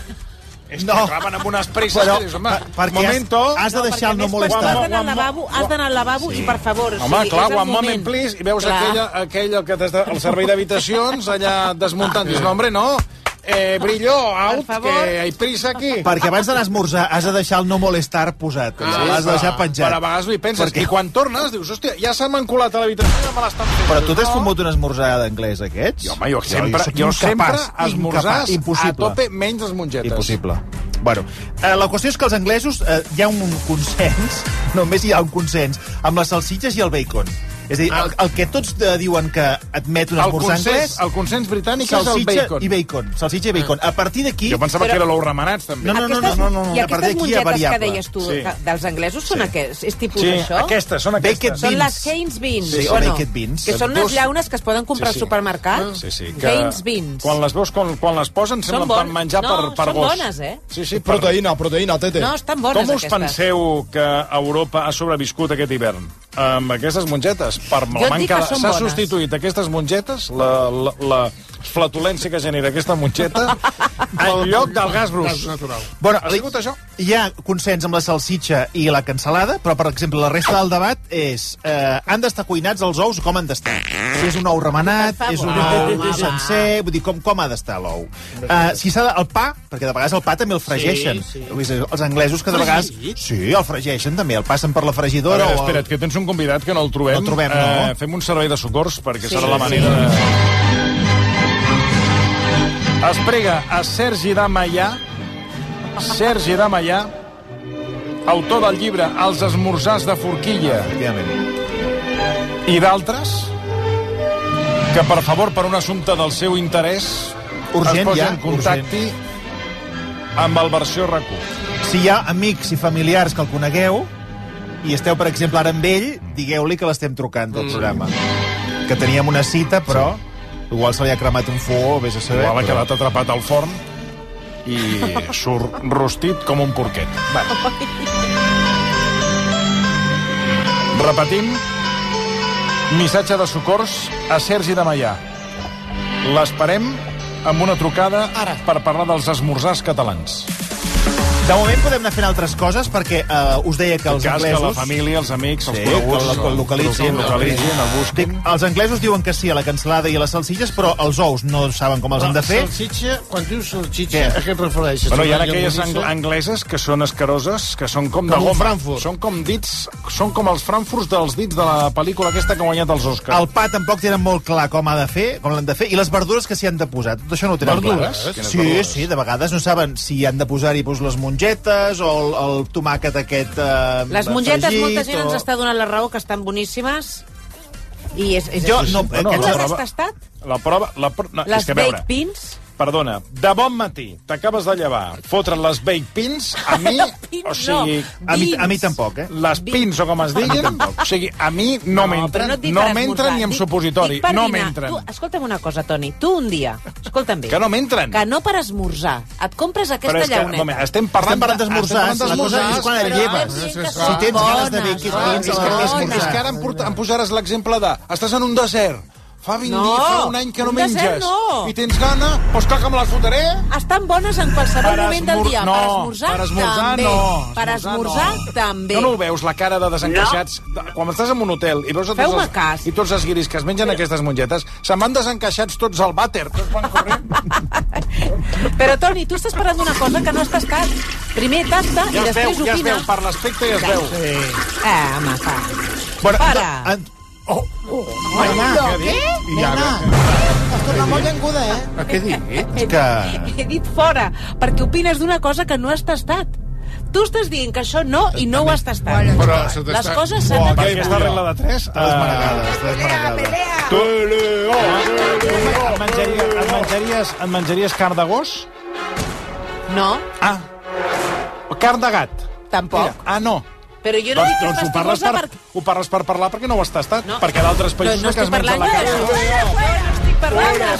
És que acaben amb unes presses
Però,
que dius, home,
per- perquè
momento...
has- has de deixar el no molestar.
Quan vas
Guam,
d'anar
guam,
al lavabo, has d'anar al lavabo i, per favor...
Home, clar,
és el
one moment, please, i veus aquella, aquella que t'has de, el servei d'habitacions allà desmuntant. Dius, no, hombre, no. Eh, brillo, out, que hay prisa aquí.
Perquè abans d'anar a esmorzar has de deixar el no molestar posat. Ah,
Sí,
L'has de deixar penjat.
Però a vegades ho hi penses.
Perquè-
Perquè... I quan tornes, dius, hòstia, ja se m'han colat a l'habitació i ja me l'estan fent.
Però tu t'has
No.
fumut una esmorzada d'anglès, aquests?
Home, jo sempre,
sóc
jo, sempre
incapaç,
esmorzars
incapaç, impossible.
a tope menys les mongetes.
Impossible. Bueno, eh, la qüestió és que els anglesos eh, hi ha un consens, només hi ha un consens, amb les salsitxes i el bacon. És a dir, el, el que tots eh, diuen que admet un
El
esmorzar
consens-
anglès...
el consens britànic és el
salsitxa
bacon.
i bacon. Salsitxa i bacon. A partir d'aquí...
Jo pensava que era l'ou remenats, també.
No, no, no, no, no, no, no. a
I
partir
aquestes
d'aquí hi ha
mongetes que
variable.
deies tu
Sí.
sí. dels anglesos són aquests? És tipus
Sí,
això?
aquestes, són aquestes. Baked
Són
beans.
les Keynes Beans.
Sí,
o
o
no?
baked beans.
Que són
Dos-
unes llaunes que es poden comprar
Sí,
al
sí.
supermercat.
Ah. Sí, sí, que...
que... Keynes Beans.
Quan les veus, quan, quan les posen,
Són
semblen per
bones.
menjar
No,
per, per
són
gos.
bones, eh?
Sí, sí, però...
Proteïna, proteïna, tete.
No, estan bones,
Com us
aquestes.
penseu que Europa ha sobreviscut aquest hivern? Amb aquestes mongetes? Per
Jo
la
et dic
manca
que
de-
són
S'ha
bones.
substituït aquestes mongetes, la, la, la, flatulència que genera aquesta motxeta en lloc del gas rus.
Gas natural.
Bueno,
ha sigut això?
Hi ha consens amb la salsitxa i la cansalada, però, per exemple, la resta del debat és eh, han d'estar cuinats els ous com han d'estar. Si és un ou remenat, és un ou sencer, vull dir, com, com ha d'estar l'ou. Eh, si s'ha de... El pa, perquè de vegades el pa també el fregeixen.
Sí, sí.
Vull dir, Els anglesos que de vegades... Sí, el fregeixen també, el passen per la
A
fregidora
veure,
o el
espera't, que tens un convidat que no el trobem. Eh,
No el trobem, no.
fem un servei de socors, perquè
Sí,
serà la
sí,
manera de... Es prega a Sergi Damaià, Sergi Damaià, autor del llibre Els esmorzars de forquilla i d'altres, que, per favor, per un assumpte del seu interès,
Urgent,
es posi
ja,
en contacte amb el versió RAC1.
Si hi ha amics i familiars que el conegueu i esteu, per exemple, ara amb ell, digueu-li que l'estem trucant
Mm.
del programa. Que teníem una cita, però igual se li ha cremat un fo, vés a saber.
Igual ha
però-
quedat atrapat al forn i surt rostit com un porquet. Va. Repetim, missatge de socors a Sergi de Maià. L'esperem amb una trucada Ara. per parlar dels esmorzars catalans.
De moment podem anar fent altres coses, perquè eh, us deia que
En
els
cas
anglesos...
que la família, els amics, els
Sí,
coneguts...
que el- que el localitzin,
el localitzin, el busquin.
Els anglesos diuen que sí a la cansalada i a les salsitxes, però els ous no saben com els
Ah,
han de fer.
Salsitxa, quan dius salsitxa, a què et refereixes?
Bueno, hi ha
Una
aquelles ang
llonganissa?
angleses que són escaroses, que són com, de
Com un
goma.
Frankfurt.
Són com dits, són com els Frankfurts dels dits de la pel·lícula aquesta que ha guanyat els Oscars.
El pa tampoc tenen molt clar com ha de fer, com l'han de fer, i les verdures que s'hi han de posar. Tot això no ho tenen
Verdures?
clar.
Quines
Sí,
verdures?
sí, de vegades no saben si han de posar-hi doncs, les mongetes o el, el tomàquet aquest eh,
Les mongetes,
fregit,
molta gent
o...
ens està donant la raó, que estan boníssimes. I és, és
Jo
així.
no-
Tu
Bueno, la
l'hauràs
prova-
tastat?
La prova... La pro... no, és
Les
que a veure,
baked beans?
perdona, de bon matí t'acabes de llevar, fotre les baked pins, a mi...
Pins
o sigui,
no,
a, mi,
beans.
a mi tampoc, eh? Les pins, o com es diguin, o sigui, a mi no,
però
m'entren,
et dic
no
per
m'entren
esmorzar,
ni amb
dic-
supositori,
dic per
no
dinar.
m'entren.
Tu, escolta'm una cosa, Toni, tu un dia, escolta'm bé...
Que no m'entren.
Que no per esmorzar. Et compres aquesta
és que,
llauneta.
moment, estem parlant,
Estem parlant d'esmorzars,
estem parlant
la cosa
d'esmorzars,
és quan et
però-
lleves.
Sí,
Si
sí, clar.
tens ganes de Bones, dir que
Clar,
tens a
és que-
la
és que-
bones.
És que ara em, porta, em posaràs l'exemple de... Estàs en un desert, fa 20
No,
dies, Ah, fa un any que no
un desert
menges,
no.
i tens gana, doncs clar que me les fotré.
Estan bones en qualsevol
Per
moment del
esmor-
dia.
no,
per esmorzar,
per esmorzar,
també.
no.
Per esmorzar, també.
No, no ho veus, la cara de desencaixats? No. Quan estàs en un hotel i veus a tots,
Feu-me
els, i tots els guiris que es mengen aquestes mongetes, se'n van desencaixats tots al vàter. Tots van corrent.
Però, Toni, tu estàs parlant d'una cosa que no has tastat. Primer tasta
Ja
i
es veu,
després
ja es
opina.
veu, per l'aspecte ja es veu. Sí.
Eh, home, fa.
Bueno,
Para.
en-
Nena,
què
què? Nena, has tornat molt llenguda, eh?
Ah, Què dic?
És que...
He dit fora, perquè opines d'una cosa que no has tastat. Tu estàs dient que això no i no ho has tastat.
Però se t'està-
Les coses s'han de
Per aquesta regla de eh, 3, a les
maregades.
Et menjaries, et menjaries, et menjaries carn de gos?
No.
Ah. O Carn de gat?
Tampoc.
Mira, ah, no.
Però jo no
doncs,
dic que
doncs ho,
estàs
parles
famosa
per,
perquè-
ho parles per parlar perquè no ho has tastat. No. Perquè d'altres països
no
que es
estic
menja la
parlant de-
carn...
no, no estic parlant de-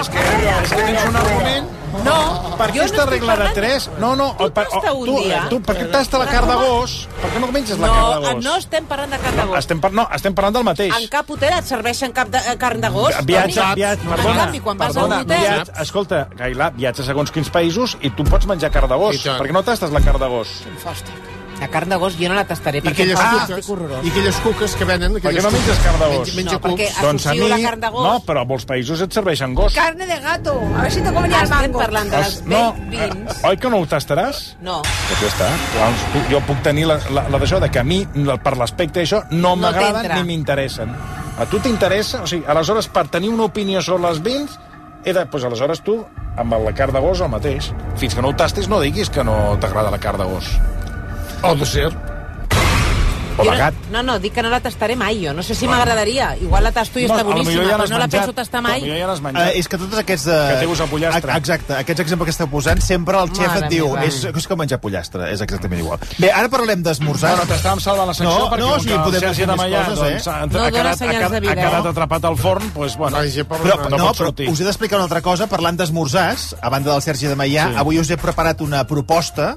És que, és que tens un argument...
No,
per
jo no
aquesta
estic
regla de
parlant-
3... No, no, o, per,
tasta un
tu,
dia.
tu, per què tasta la carn de gos? Per què no menges la carn de
No,
gos?
no estem parlant de carn de gos.
Estem, par no, estem parlant del mateix.
En cap hotel et serveixen cap de, eh, carn de gos?
Viatge,
Toni?
viatge,
En
perdona,
canvi, quan vas a eh? un
perdona,
hotel...
viatge, escolta, Gailà, viatge segons quins països i tu pots menjar carn de gos, perquè no tastes la carn de gos.
La carn de gos jo no la tastaré,
I
perquè em
aquelles,
fa un
cuques,
estic horrorós.
I aquelles cuques que venen...
Per
aquelles
què no menges
cuques?
carn de gos?
Menja, menja
No, perquè
cucs.
Doncs a mi...
associo la carn de gos.
No, però a molts països et serveixen gos.
Carne de gato. A ver si te comen el
Estem
mango.
parlant de les
Els-
no.
eh, oi que no ho tastaràs?
No.
Aquí Doncs està. Llavors, tu- jo puc tenir la, la, la d'això, de que a mi, la- per l'aspecte d'això, no,
No
m'agraden
t'entra.
ni m'interessen. A tu t'interessa? O sigui, aleshores, per tenir una opinió sobre els vins, he de, doncs, aleshores tu, amb la carn de gos, el mateix. Fins que no ho tastis, no diguis que no t'agrada la carn de gos.
Oh,
O de ser. O
Jo
de gat.
No, no, dic que no la tastaré mai, jo. No sé si m'agradaria. Igual la tasto i
No, a
està
lo millor
boníssima,
ja
però
l'has
no la
menjat.
penso tastar mai.
Potser ja l'has menjat.
Eh, és que tots aquests... De...
Que té gust a pollastre.
A- Exacte, aquests exemples que esteu posant, sempre el xef
Mare
et diu
meva.
és, és com menjar pollastre, és exactament igual. Bé, ara parlem d'esmorzar.
Bueno, t'estàvem salvant la secció
no,
perquè
no,
com
sí,
que el
podem
Sergi
fer
de
més
Maià,
coses,
doncs,
eh?
ha- ha quedat- ha quedat- ha quedat
eh?
atrapat al forn, doncs, bueno,
Però,
no
no,
pot
però
sortir.
us he d'explicar una altra cosa. Parlant d'esmorzars, a banda del Sergi de Maià,
Sí.
avui us he preparat una proposta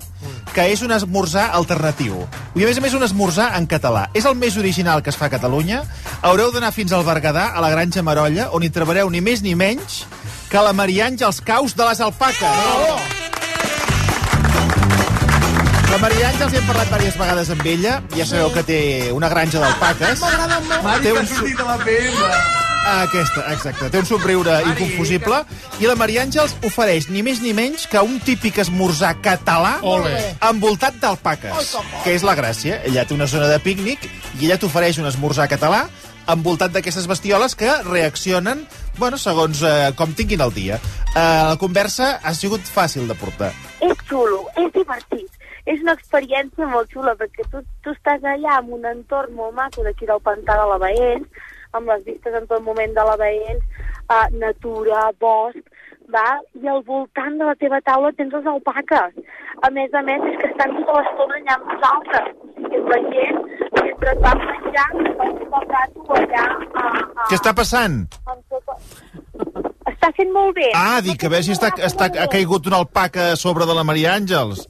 que és un esmorzar alternatiu. I a més a més un esmorzar en català. És el més original que es fa a Catalunya. Haureu d'anar fins al Berguedà, a la Granja Marolla, on hi trobareu ni més ni menys que la Mariange als caus de les alpaques. Bravo! La Mariange els hi hem parlat diverses vegades amb ella. Ja sabeu que té una granja d'alpaques.
M'agrada molt.
Té un... su- Aquesta, exacte. Té un somriure inconfusible. I la Maria Àngels ofereix ni més ni menys que un típic esmorzar català
Ole.
envoltat d'alpaques, que és la gràcia. Ella té una zona de pícnic i ella t'ofereix un esmorzar català envoltat d'aquestes bestioles que reaccionen bueno, segons eh, com tinguin el dia. Eh, la conversa ha sigut fàcil de portar.
és xulo, és divertit. És una experiència molt xula, perquè tu, tu estàs allà en un entorn molt maco d'aquí del Pantà de la Baells, amb les vistes en tot moment de la Baells, eh, natura, bosc, va? i al voltant de la teva taula tens les alpaques. A més a més, és que estan tota l'estona allà amb nosaltres. I la gent, mentre et van menjant, va el rato allà... eh, eh,
Què està passant?
amb tota... Està fent molt bé.
Ah, dic, a veure si està, està, ha caigut una alpaca a sobre de la Maria Àngels.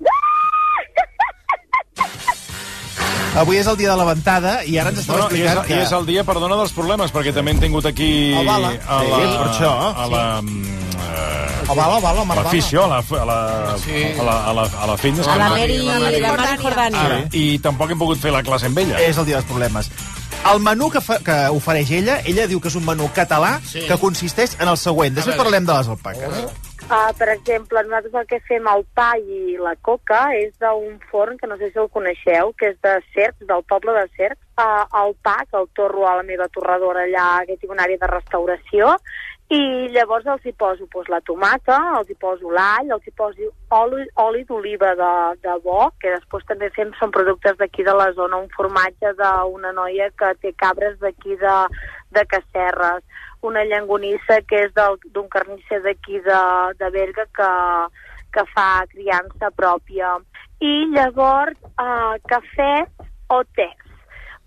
Avui és el dia de la ventada i ara ens estan
Bueno, i, és,
explicant
I
que...
és el dia, perdona, dels problemes, perquè també en tingut aquí...
El Bala.
A la,
Sí, per això.
A la... mm,
El Bala, el Bala, el Marc
L'afició, a la, a la, a la, a la, a la fitness. que no-
Eh,
Ara, I tampoc hem pogut fer la classe amb ella.
És el dia dels problemes. El menú que, fa, que ofereix ella, ella diu que és un menú català
Sí.
sí. que consisteix en el següent. Després
veure.
parlem de les alpaques.
Uh, per exemple, nosaltres el que fem el pa i la coca és d'un forn que no sé si el coneixeu, que és de Cercs, del poble de Cercs. Uh, el pa, que el torro a la meva torradora allà, que tinc una àrea de restauració, i llavors els hi poso pues, la tomata, els hi poso l'all, els hi poso oli, oli d'oliva de, de bo, que després també fem, són productes d'aquí de la zona, un formatge d'una noia que té cabres d'aquí de, de Cacerres, una llangonissa que és del- d'un carnisser d'aquí de, de Berga que, que fa criança pròpia. I llavors, eh, cafè o te.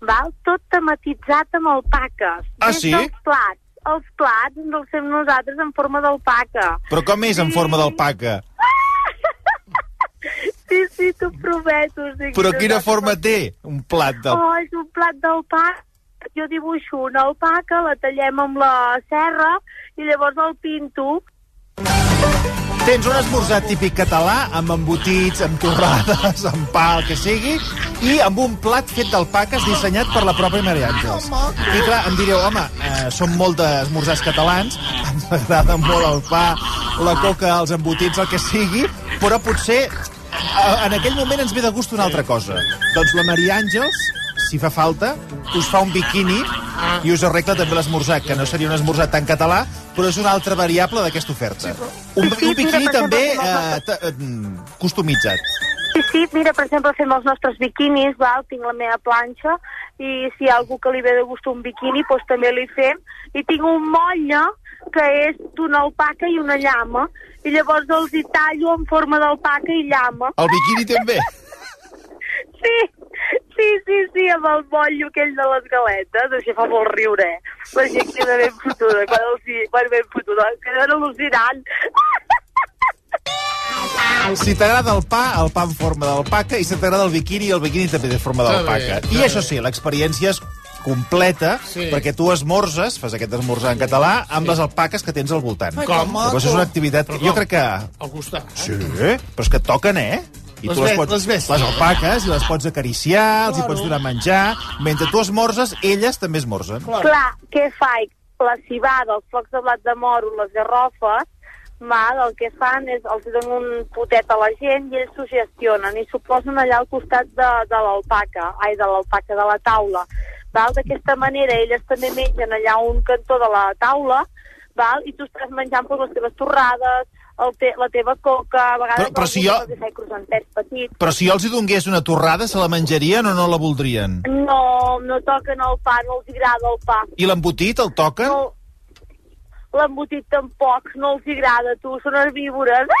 Val? Tot tematitzat amb alpaques.
Ah,
Des
sí?
dels plats. Els plats ens els fem nosaltres en forma d'alpaca.
Però com és en forma d'alpaca?
Sí, sí, t'ho prometo. O sigui,
Però quina
nosaltres-
forma té un plat del...
Oh, és un plat d'alpaca. Jo dibuixo una alpaca, la tallem amb la serra i llavors el pinto.
Tens un esmorzar típic català amb embotits, amb torrades, amb pa, el que sigui, i amb un plat fet d'alpaques dissenyat per la pròpia Maria Àngels. I clar, em direu, home, eh, som molt d'esmorzars catalans, ens agrada molt el pa, la coca, els embotits, el que sigui, però potser eh, en aquell moment ens ve de gust una altra cosa. Doncs la Maria Àngels, si fa falta, us fa un biquini i us arregla també l'esmorzar, que no seria un esmorzar tan català, però és una altra variable d'aquesta oferta. Un, un biquini també eh, ta- eh, mm, customitzat.
Sí, sí, mira, per exemple, fem els nostres biquinis, val? tinc la meva planxa, i si hi ha algú que li ve de gust un biquini, doncs també li fem. I tinc un molle que és d'una alpaca i una llama, i llavors els hi tallo en forma d'alpaca i llama.
El biquini també.
Sí, sí, sí, sí, amb el bollo aquell de les galetes, això fa molt riure, eh? La gent queda ben fotuda, quan els hi... Bueno, ben fotuda, queda al·lucinant.
Si t'agrada el pa, el pa en forma d'alpaca, i si t'agrada el biquini, el biquini també té forma
Està
d'alpaca.
bé,
I això
està
sí, l'experiència és completa, sí. perquè tu esmorzes, fas aquest esmorzar en català, amb les alpaques que tens al voltant.
Ai, com?
Llavors és una activitat...
Però com?
Jo crec que...
Al costat.
Sí, però és que et toquen, eh? I
Les
tu les,
ve-
pots,
les
les,
ves.
alpaques, i les pots acariciar, els hi
Claro.
pots donar a menjar. Mentre tu esmorzes, elles també esmorzen.
Clar, Clar què faig? La cibada, els flocs de blat de moro, les garrofes, mal, el que fan és els donen un potet a la gent i ells s'ho gestionen i s'ho posen allà al costat de, de l'alpaca, ai, de l'alpaca de la taula. Val? D'aquesta manera elles també mengen allà a un cantó de la taula val? i tu estàs menjant doncs, les teves torrades, el te la teva coca, a vegades...
Però- però si
algú
jo-
els hi fa croissantets petits.
Però si jo els hi donés una torrada, se la menjarien o no la voldrien?
No, no toquen el pa, no els agrada el pa.
I l'embotit el toquen?
No. L'embotit tampoc, no els hi agrada, tu, són herbívores.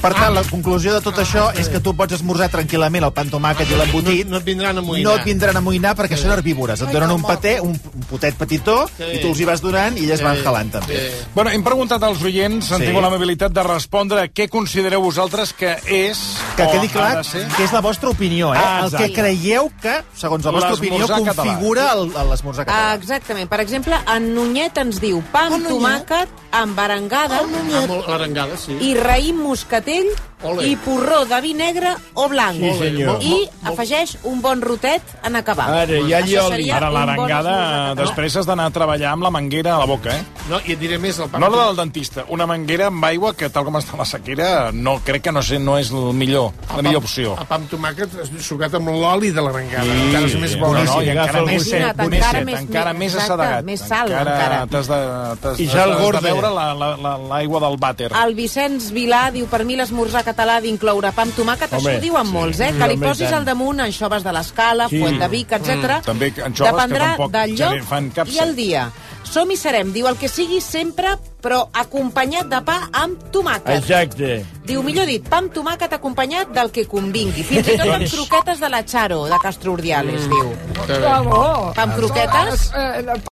Per tant, la conclusió de tot això és que tu pots esmorzar tranquil·lament el pa amb tomàquet i l'embotí.
No et vindran a
No et vindran a moïnar perquè són herbívores. Et donen un paté, un, un potet petitó,
Sí.
i tu els hi vas donant i elles van jalant també.
Bueno, hem preguntat als oients, han
Sí.
tingut l'amabilitat de respondre què considereu vosaltres que és...
Que
o
quedi
ha
clar
de ser.
que és la vostra opinió, eh?
Oh, Ah,
el que
exacte.
creieu que, segons la vostra opinió,
L'esmorzar català.
configura el- el- l'esmorzar català.
Ah, Exactament. Per exemple, en Nunyet ens diu pa amb
eh?
tomàquet, amb arengada
Amb l'arengada, eh? sí.
i raïm moscatell
Ole.
i porró de vi negre o blanc.
Sí, senyor.
I afegeix un bon rotet en acabar. Això seria
Ara,
un bon
l'arengada,
esmorzar català.
després has d'anar a treballar amb la manguera a la boca, eh?
No, i et diré més, el pa...
No la del dentista, una manguera amb aigua que, tal com està la sequera, no, crec que no, sé, no és el millor, la millor opció.
El pa amb tomàquet és sucat amb l'oli de l'arengada.
Sí,
Ah, encara és més
no,
bo.
no, i encara
Agafa el
més
gusset,
set,
bonet.
més set, encara més
exacte,
assedegat.
més sal, encara.
T'has de, t'has,
I ja el
t'has
gordo.
de beure la- la- la- l'aigua del vàter.
El Vicenç Vilà diu, per mi l'esmorzar català d'incloure pa amb tomàquet,
Home,
això ho diuen
sí. Mm,
molts, eh? Que
Home,
li
i
posis
tant.
al damunt anxoves de l'escala,
Sí.
sí. fuet de Vic, etc.
Mm, també anxoves
Dependrà
que tampoc
del
generen-
lloc
fan cap
i el
set.
dia. Som i serem, diu el que sigui sempre, però acompanyat de pa amb tomàquet.
Exacte.
Diu, millor dit, pa amb tomàquet acompanyat del que convingui. Fins i tot amb
Doncs-
Mm.
croquetes de la Charo, de Castro Urdiales, diu.
bé.
Pa amb croquetes?